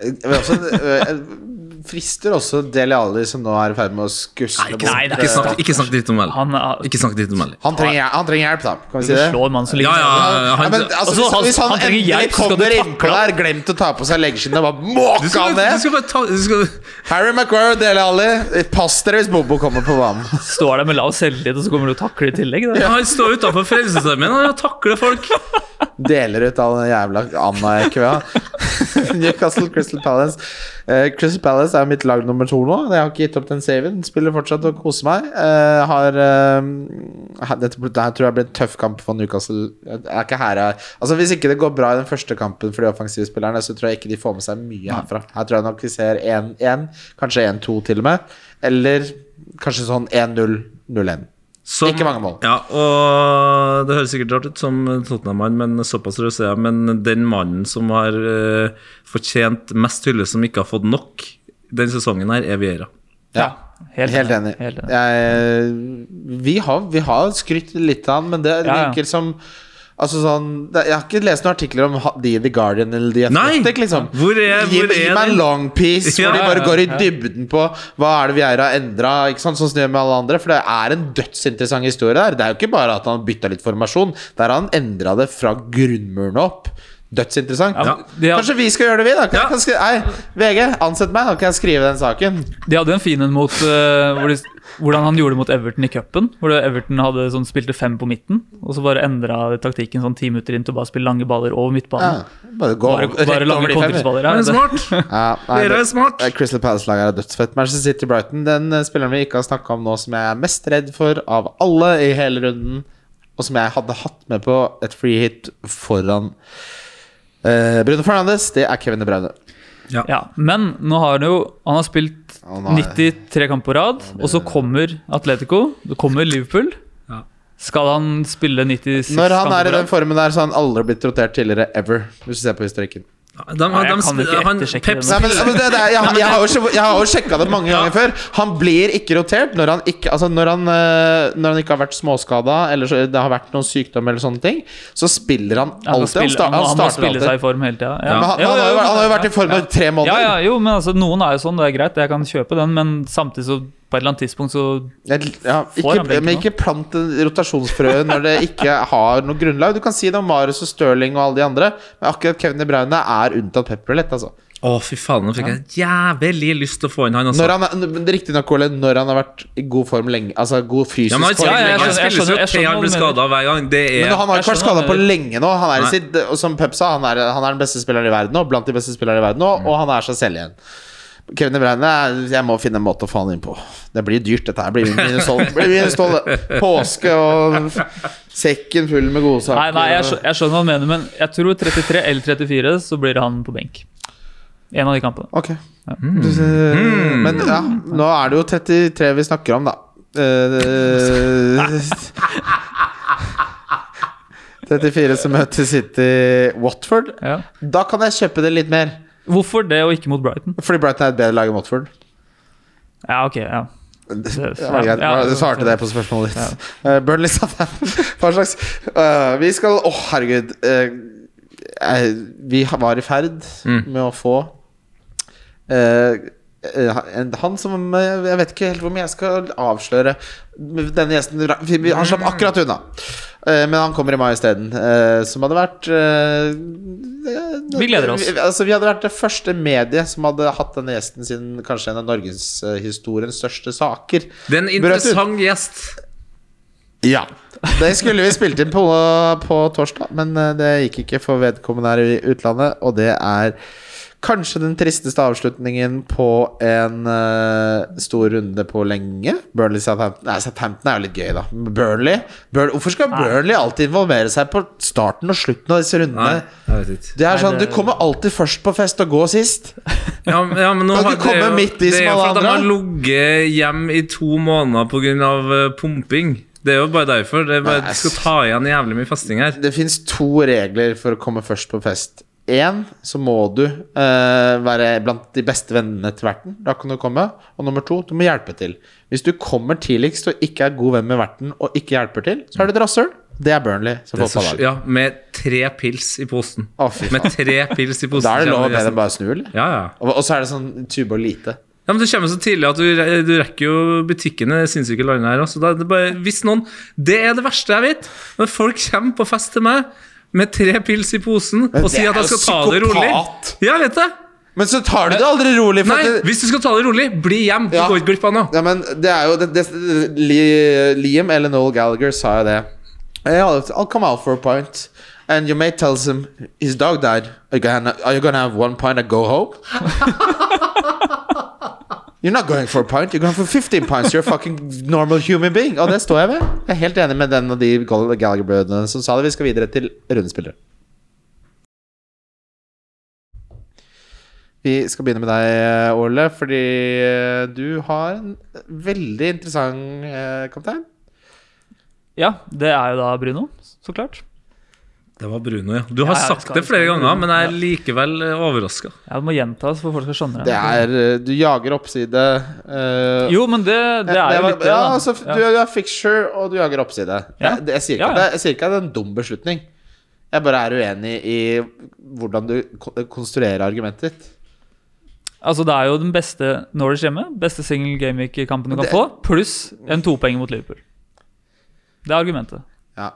Men også, eh, frister også Deli Ali, som nå er i ferd med å skusle bort nei, det er eh, Ikke snakk, ikke snakk dritt om L. Han er- Ikke snakk dritt om L. han, trenger, han trenger hjelp, da. Kan vi si Du det? slår en mann som ligger Ja, ja, Ja, han, men, altså, altså, hvis, han- hvis han, han trenger endelig hjelp, så skal kommer du innpå takle han. der, glemt å ta på seg leggskinnet, bare du måker skal, han du ned! skal bare ta du skal, Harry Maguire og Dele Alli, pass dere hvis Bobo kommer på banen. står der med lav selvtillit, og så kommer du og takler i tillegg. Da. Han står utafor Frelsesarmeen og takler folk. Deler ut all den jævla Anna Ekvea. Newcastle Crystal Palace. Eh, Crystal Palace er mitt lag nummer to nå. Jeg har ikke gitt opp den saven. Spiller fortsatt og koser meg. Eh, har eh, ha- Dette ble- det her tror jeg blir en tøff kamp for Newcastle. Jeg er ikke her jeg- Altså Hvis ikke det går bra i den første kampen for de offensive spillerne, så tror jeg ikke de får med seg mye herfra. Her tror jeg nok vi ser 1-1, kanskje 1-2 til og med. Eller kanskje sånn 1-0, 0-1. Som- Ikke mange mål. Ja, og Det høres sikkert rart ut som Tottenham-mann, men såpass raus er jeg. Men den mannen som har eh, fortjent mest hylle, som ikke har fått nok den sesongen her, er Viera. Ja. Helt, Helt enig. Helt enig. Jeg, vi, har, vi har skrytt litt av han, men det Ja, ja. virker som Altså sånn, det, Jeg har ikke lest noen artikler om ha- de i The Guardian eller de i Nei! Athletic. Liksom. Hvor er- gi, hvor gi er meg de? en long piece Ja, hvor de ja, bare ja, går i ja. dybden på hva er det vi er har endra, sånn som det gjør med alle andre. For det er en dødsinteressant historie der. Det er jo ikke bare at han bytta litt formasjon, der har han endra det fra grunnmuren opp. Dødsinteressant. Ja, de har- Kanskje vi skal gjøre det, vi, da? Kan Ja. jeg, kan, skri- nei, VG, ansett meg, da kan jeg skrive den saken. De hadde jo en fin en mot eh, hvor de, hvordan han gjorde det mot Everton i cupen. Hvor det- Everton hadde sånn, spilte fem på midten, og så bare endra de taktikken sånn ti minutter inn til å bare spille lange baller over midtbanen. Ja, bare gå Bare, rett bare over lange de fem, vi. kontringsballer. Han er Ja, smart! Ja, nei, Viera det- er smart! Eh, Crystal Palace-laget er dødsfett. Manchester City Brighton, den eh, spilleren vi ikke har snakka om nå, som jeg er mest redd for av alle i hele runden, og som jeg hadde hatt med på et free hit foran eh, Bruno Fernandes, det er Kevin De Bruyne. ja. Men nå har han jo Han har spilt Å, nei. 93 kamp på rad, og så kommer Atletico, det kommer Liverpool. Ja. Skal han spille 96 Når han er i kamper på den rad? formen der, så har han aldri blitt rotert tidligere ever, hvis du ser på historikken. De, de, Nei, jeg kan jo ikke han- ettersjekke Pep det nå. Nei, men, men det, det, er- jeg, jeg har jo sjek- jeg har jo sjekka det mange ganger før. Han blir ikke rotert når han ikke, altså når han, eh, når han ikke har vært småskada eller så, det har vært noen sykdom eller sånne ting. Så spiller han Ja, han, alltid. Han, spiller, sta- han, må- han han må starter spille alltid. seg i form hele tida. Men han, han, har jo, han har jo vært i form i tre Ja, måneder. ja, jo, men altså, noen er jo sånn, det er greit, jeg kan kjøpe den, men samtidig så på et eller annet tidspunkt så Jeg- ja, Får ikke, han benken men ikke plant en rotasjonsfrø når det ikke har noe grunnlag. Du kan si det om Marius og Stirling og alle de andre, men akkurat Kevin De Bruyne er unntatt pepperlett. Altså. Å, fy faen, nå fikk jeg jævlig lyst til å få inn han, altså. Når han er- Riktignok, Ole, når han har vært i god form lenge, altså god fysisk Ja, men han form Ja, ja, spiller, jeg lenge. han skjønner- jeg spiller skjønner- jo jeg til skjønner hva han blir du mener. skada hver gang. Det Men er han har ikke jeg vært skjønner skada hva på du lenge nå. Han er, i Nei. sitt, som Pep sa, han er, han er den beste spilleren i verden nå, blant de beste spillerne i verden nå, og han er seg selv igjen. Kevin De Bruyne, jeg må finne en måte å få han inn på. Det blir dyrt, dette her. Blir minus tolv- blir minus tolv. Påske og sekken full med gode saker. Nei, nei, jeg, skjø- jeg skjønner hva han mener, men jeg tror 33 eller 34, så blir det han på benk. En av de kampene. Ok. Du ser- Men ja, nå er det jo 33 vi snakker om, da. Eh, 34 som møter City Watford. Ja. Da kan jeg kjøpe det litt mer. Hvorfor det, og ikke mot Brighton? Fordi Brighton er et bedre lag enn Watford. Ja, ok, ja. Det Det- var greit. ja, Du svarte det på spørsmålet ditt. Ja. Burnley Southampton. Hva slags Eh, Vi skal Å, herregud. Eh, eh, vi var i ferd Mm. med å få eh, eh, en- han som eh, Jeg vet ikke helt hvor mye jeg skal avsløre. Denne gjesten vi- vi- Han Mm. slapp akkurat unna. Eh, Men han kommer i mai isteden, eh, som hadde vært eh, Vi gleder oss. Vi, altså, vi hadde vært det første mediet som hadde hatt denne gjesten siden kanskje en av norgeshistoriens største saker. Det er en Brøt ut. interessant gjest. Ja. Det skulle vi spilt inn på, på torsdag, men eh, det gikk ikke for vedkommende her i utlandet. Og det er kanskje den tristeste avslutningen på en eh, stor runde på lenge. Burnley Southampton Nei, Southampton er jo litt gøy, da. Burnley, Burn- Hvorfor skal Burnley alltid involvere seg på starten og slutten av disse Nei, rundene? jeg vet ikke. Det er Nei, sånn, Du det- kommer alltid først på fest og gå sist. Ja, men- ja, men nå Kan har- ikke komme det er jo- midt i som Det er jo alle fordi de har andre. ligget hjem i to måneder pga. eh, pumping. Det er jo bare derfor. Det er bare, Nei, du skal ta igjen jævlig mye festing her. Det finnes to regler for å komme først på fest. Én, så må du eh, være blant de beste vennene til verten. Da kan du komme. Og nummer to, du må hjelpe til. Hvis du kommer tidligst og ikke er god venn med verten og ikke hjelper til, så er du et rasshøl. Det er Burnley som Det er får så, pålag. ja, med tre pils i posten. Å, fy faen. Med tre pils i posten. Da er det lov å kjenner be jeg dem bare snu, eller? som- Ja, ja. Og, og så er det sånn tube og lite. Ja, men Du kommer så tidlig at du, re- du rekker jo butikkene i det sinnssyke landet her. Også. Da er Det, bare, hvis noen, det er det verste jeg vet. Når folk kommer på fest til meg med tre pils i posen Men og det sier er at jeg jo skal ta det rolig. psykopat. Ja, jeg vet det. Men så tar du det aldri rolig. For Nei, at det, hvis du skal ta det rolig, bli hjem. Du Ja. går ikke glipp av noe. ja, men det er jo det, det, Li- Liam eller Noel Gallagher sa jo det. Eh, I'll, I'll come out for a pint. And your mate tells him his dog died. Are you gonna, are you gonna have one pint and go home? You're not going for a pint, you're going for 15 pints. You're a fucking normal human being. Og det står jeg ved. Jeg er helt enig med den og de Gall- Gallagher-brødrene som sa det. Vi skal videre til rundespillere. Vi skal begynne med deg, Ole, fordi eh, du har en veldig interessant eh, kaptein. Ja, det er jo da Bruno, så klart. Det var Bruno, ja. Du har Ja, ja, sagt skal- det flere skal- ganger, men jeg er likevel eh, overraska. Ja, det må gjentas for folk skal skjønne Det det. er eh, Du jager oppside. eh, Jo, men det, det er jo var- litt det, ja, da. altså, Ja. Du, du er fixture, og du jager oppside. Ja. Jeg, det, jeg, sier ikke Ja, at ja. det, jeg sier ikke at det er en dum beslutning. Jeg bare er uenig i hvordan du ko- konstruerer argumentet ditt. Altså, det er jo den beste Norwich hjemme. Beste single gameweek-kampen du kan Det- få. Pluss en topoeng mot Liverpool. Det er argumentet. Ja.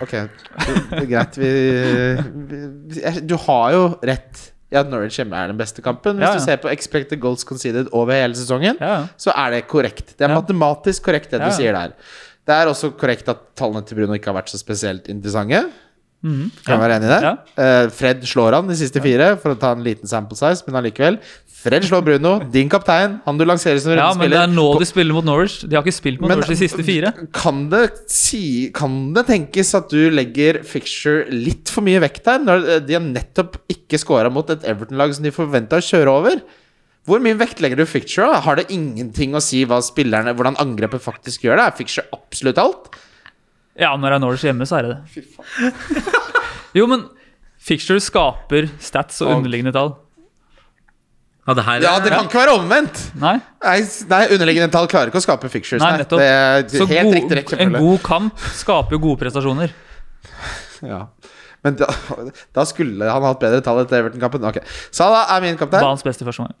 Ok, det er greit. Vi, vi jeg- Du har jo rett i at Norwich hjemme er den beste kampen. Hvis Ja, ja. du ser på expected goals conceded over hele sesongen, Ja, ja. så er det korrekt. Det er Ja. matematisk korrekt, det Ja, du ja. sier der. Det er også korrekt at tallene til Bruno ikke har vært så spesielt interessante. Kan jeg være enig i det? Mhm. Ja. Eh, Fred slår han de siste fire, for å ta en liten sample size, men allikevel. Fred slår Bruno, din kaptein, han du lanserer som Ja, men det rundespiller. er nå de spiller mot Norwich. De har ikke spilt mot Men- Norwich de siste fire. Kan det, si, kan det tenkes at du legger Fixture litt for mye vekt der, når eh, de har nettopp ikke scora mot et Everton-lag som de forventa å kjøre over? Hvor mye vekt legger du Fixture? da? Har det ingenting å si hva spillerne, hvordan angrepet faktisk gjør det? Er Fixture absolutt alt? Ja, når det er Norwich hjemme, så er det det. Jo, men Fixture skaper stats og Og- underliggende tall. Ja, det her er, Ja, det kan ikke være omvendt! Nei? Nei, s- nei underliggende tall klarer ikke å skape Fixtures. Nei, Nei, nettopp. Det Så er helt god- riktig rekkefølge. en god kamp skaper jo gode prestasjoner. Ja. Men da, da skulle han hatt bedre tall etter Everton-kampen. Ok, Salah er min kaptein. Banens beste i første omgang.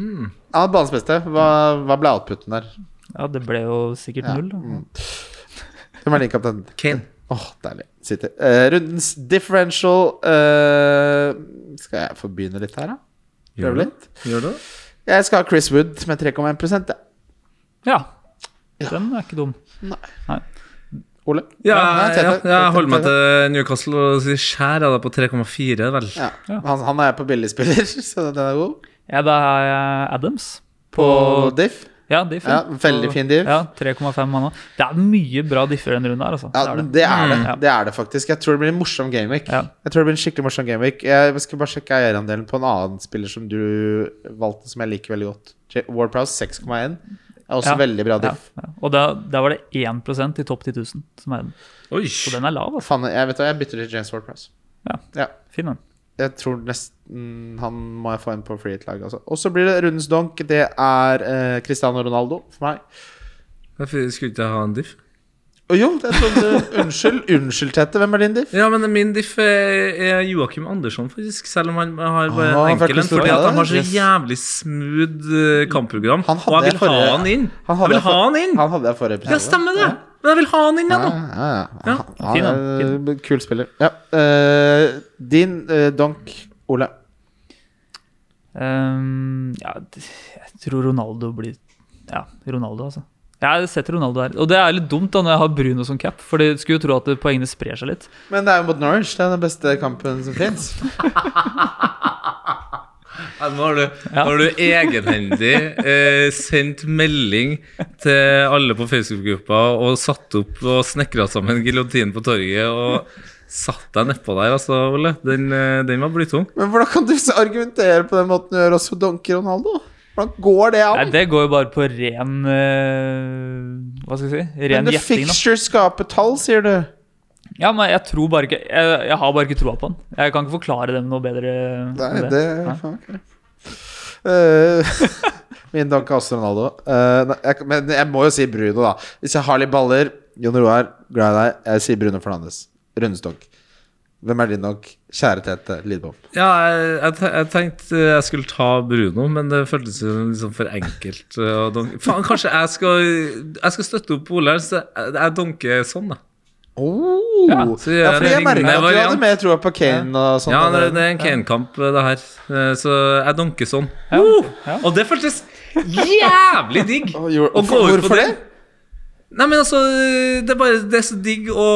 Han er banens beste. Hva, hva ble outputen der? Ja, det ble jo sikkert Ja. Mm. null. da. Hvem er din kaptein? Kane. Åh, deilig. Sitter. Eh, rundens differential eh, Skal jeg få begynne litt her, da? Gjør Prøve det? litt? Gjør det? Jeg skal ha Chris Wood med 3,1 ja. Ja. Den er ikke dum. Ole? Ja, nei, ja, Tete. jeg holder meg Tete. til Newcastle og sier skjær av deg på 3,4, vel. ja. Han, han er på billigspiller, så den er god. Ja, da er jeg Adams. På diff. Ja, diff. Ja, veldig fin diff. Ja, 3,5 mann òg. Det er mye bra differ denne runden her, altså. Ja, det er det. det er det. Ja. Det er det faktisk. Jeg tror det blir en morsom gameweek. Ja. Jeg tror det blir en skikkelig morsom gameweek Jeg skal bare sjekke eierandelen på en annen spiller som du valgte, som jeg liker veldig godt. J- Ward Prowse 6,1. Er også Ja. veldig bra diff. Ja, ja. Og da, der var det 1 i topp 10 000 som er den. Oi. Så den er lav, altså. Faen, jeg vet hva, jeg bytter til James Ward Prowse. Ja. Fin den. Jeg tror nesten han må jeg få inn på free hit-laget. Altså. Og så blir det rundens donk. Det er eh, Cristiano Ronaldo for meg. Hvorfor skulle ikke jeg ha en diff? Å jo, jeg trodde Unnskyld, unnskyld, Tete. Hvem er din diff? Ja, men min diff er er Joakim Andersson, faktisk. Selv om han har bare Ah, en fra enkel en. Crystal Fordi at han har Palace. så Yes. jævlig smooth eh, kampprogram. Han hadde Og jeg vil ha forrige- han inn. han hadde Jeg vil ha for- han inn! Han hadde jeg forrige Ja, stemmer det! Men jeg vil ha han inn, Ja, jeg, nå. ja, ja. Ja, Han- fin, han er han, en Kul spiller. Ja. eh, din eh, donk, Ole. Ehm, ja, d- jeg tror Ronaldo blir Ja, Ronaldo, altså. Jeg setter Ronaldo her. Og det er litt dumt da når jeg har Bruno som cap, for det skulle jo tro at det- poengene sprer seg litt. Men det er jo mot Norwich. Det er den beste kampen som fins. Ja, Nå har du, nå har du egenhendig eh, sendt melding til alle på Facebook-gruppa og satt opp og snekra sammen giljotinen på torget og satt deg nedpå der, altså, Ole. Den, eh, den var blytung. Men hvordan kan du så argumentere på den måten du gjør også donker Ronaldo? Hvordan går det Nei, an? det går jo bare på ren eh, Hva skal jeg si? Ren Men the gjetting, da. fixture skaper tall, sier du. Ja, men jeg tror bare ikke Jeg, jeg har bare ikke troa på han. Jeg kan ikke forklare dem noe bedre. enn Nei, det. det faen, ok. Eh, Min donk er også Ronaldo. Eh, nei, jeg, men jeg må jo si Bruno, da. Hvis jeg har litt baller Jon Roar, glad i deg. Jeg sier Brune Fernandes. Rundestokk. Hvem er din nok? Kjære Tete Lidbom. Ja, jeg, jeg, te- jeg tenkte jeg skulle ta Bruno, men det føltes jo liksom for enkelt. eh, å donke. Faen, kanskje jeg skal, jeg skal støtte opp Ole her, så jeg, jeg donker sånn, da. Oh. Ja, så gjør jeg fordi det jeg merket lignende at du hadde variant. mer troa på Kane og sånt. Ja, det, det er en Kane-kamp, eh, det her. Eh, Så jeg donker sånn. Oh, og det føltes jævlig digg! Og gjorde- å gå ut på Hvorfor det? Nei, men altså, det er, bare, det er så digg å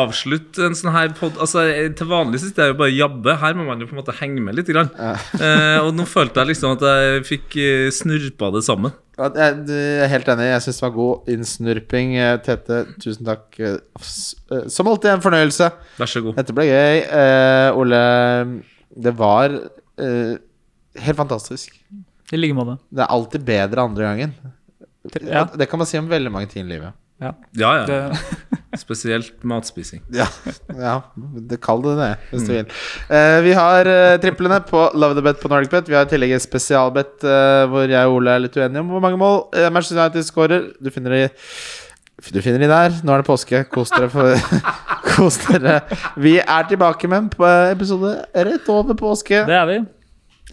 avslutte en sånn her pod... Altså, til vanlig så sitter jeg jo bare og jabber. Her må man jo på en måte henge med litt. Grann. Eh, og nå følte jeg liksom at jeg fikk eh, snurpa det sammen. Ja, Jeg jeg er helt enig. Jeg syns det var god innsnurping, eh, Tete. Tusen takk. Eh, s- eh, Som alltid en fornøyelse. Vær så god. Dette ble gøy. Eh, Ole, det var eh, helt fantastisk. I like måte. Det er alltid bedre andre gangen. Ja. Det kan man si om veldig mange ting i livet. Ja. Ja, Det, ja. Spesielt matspising. Ja, ja det- kall det det, hvis du vil. Eh, vi har eh, triplene på Love the Bet på Nordic Bet. Vi har i tillegg et spesialbet eh, hvor jeg og Ole er litt uenige om hvor mange mål eh, Manchester United skårer. Du finner de du finner de der. Nå er det påske. Kos dere. For, kos dere. Vi er tilbake med en p- episode rett over påske. det er vi.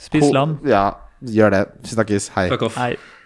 Spis lam. Ja, gjør det. Vi snakkes. Hei. Fuck off. Hei.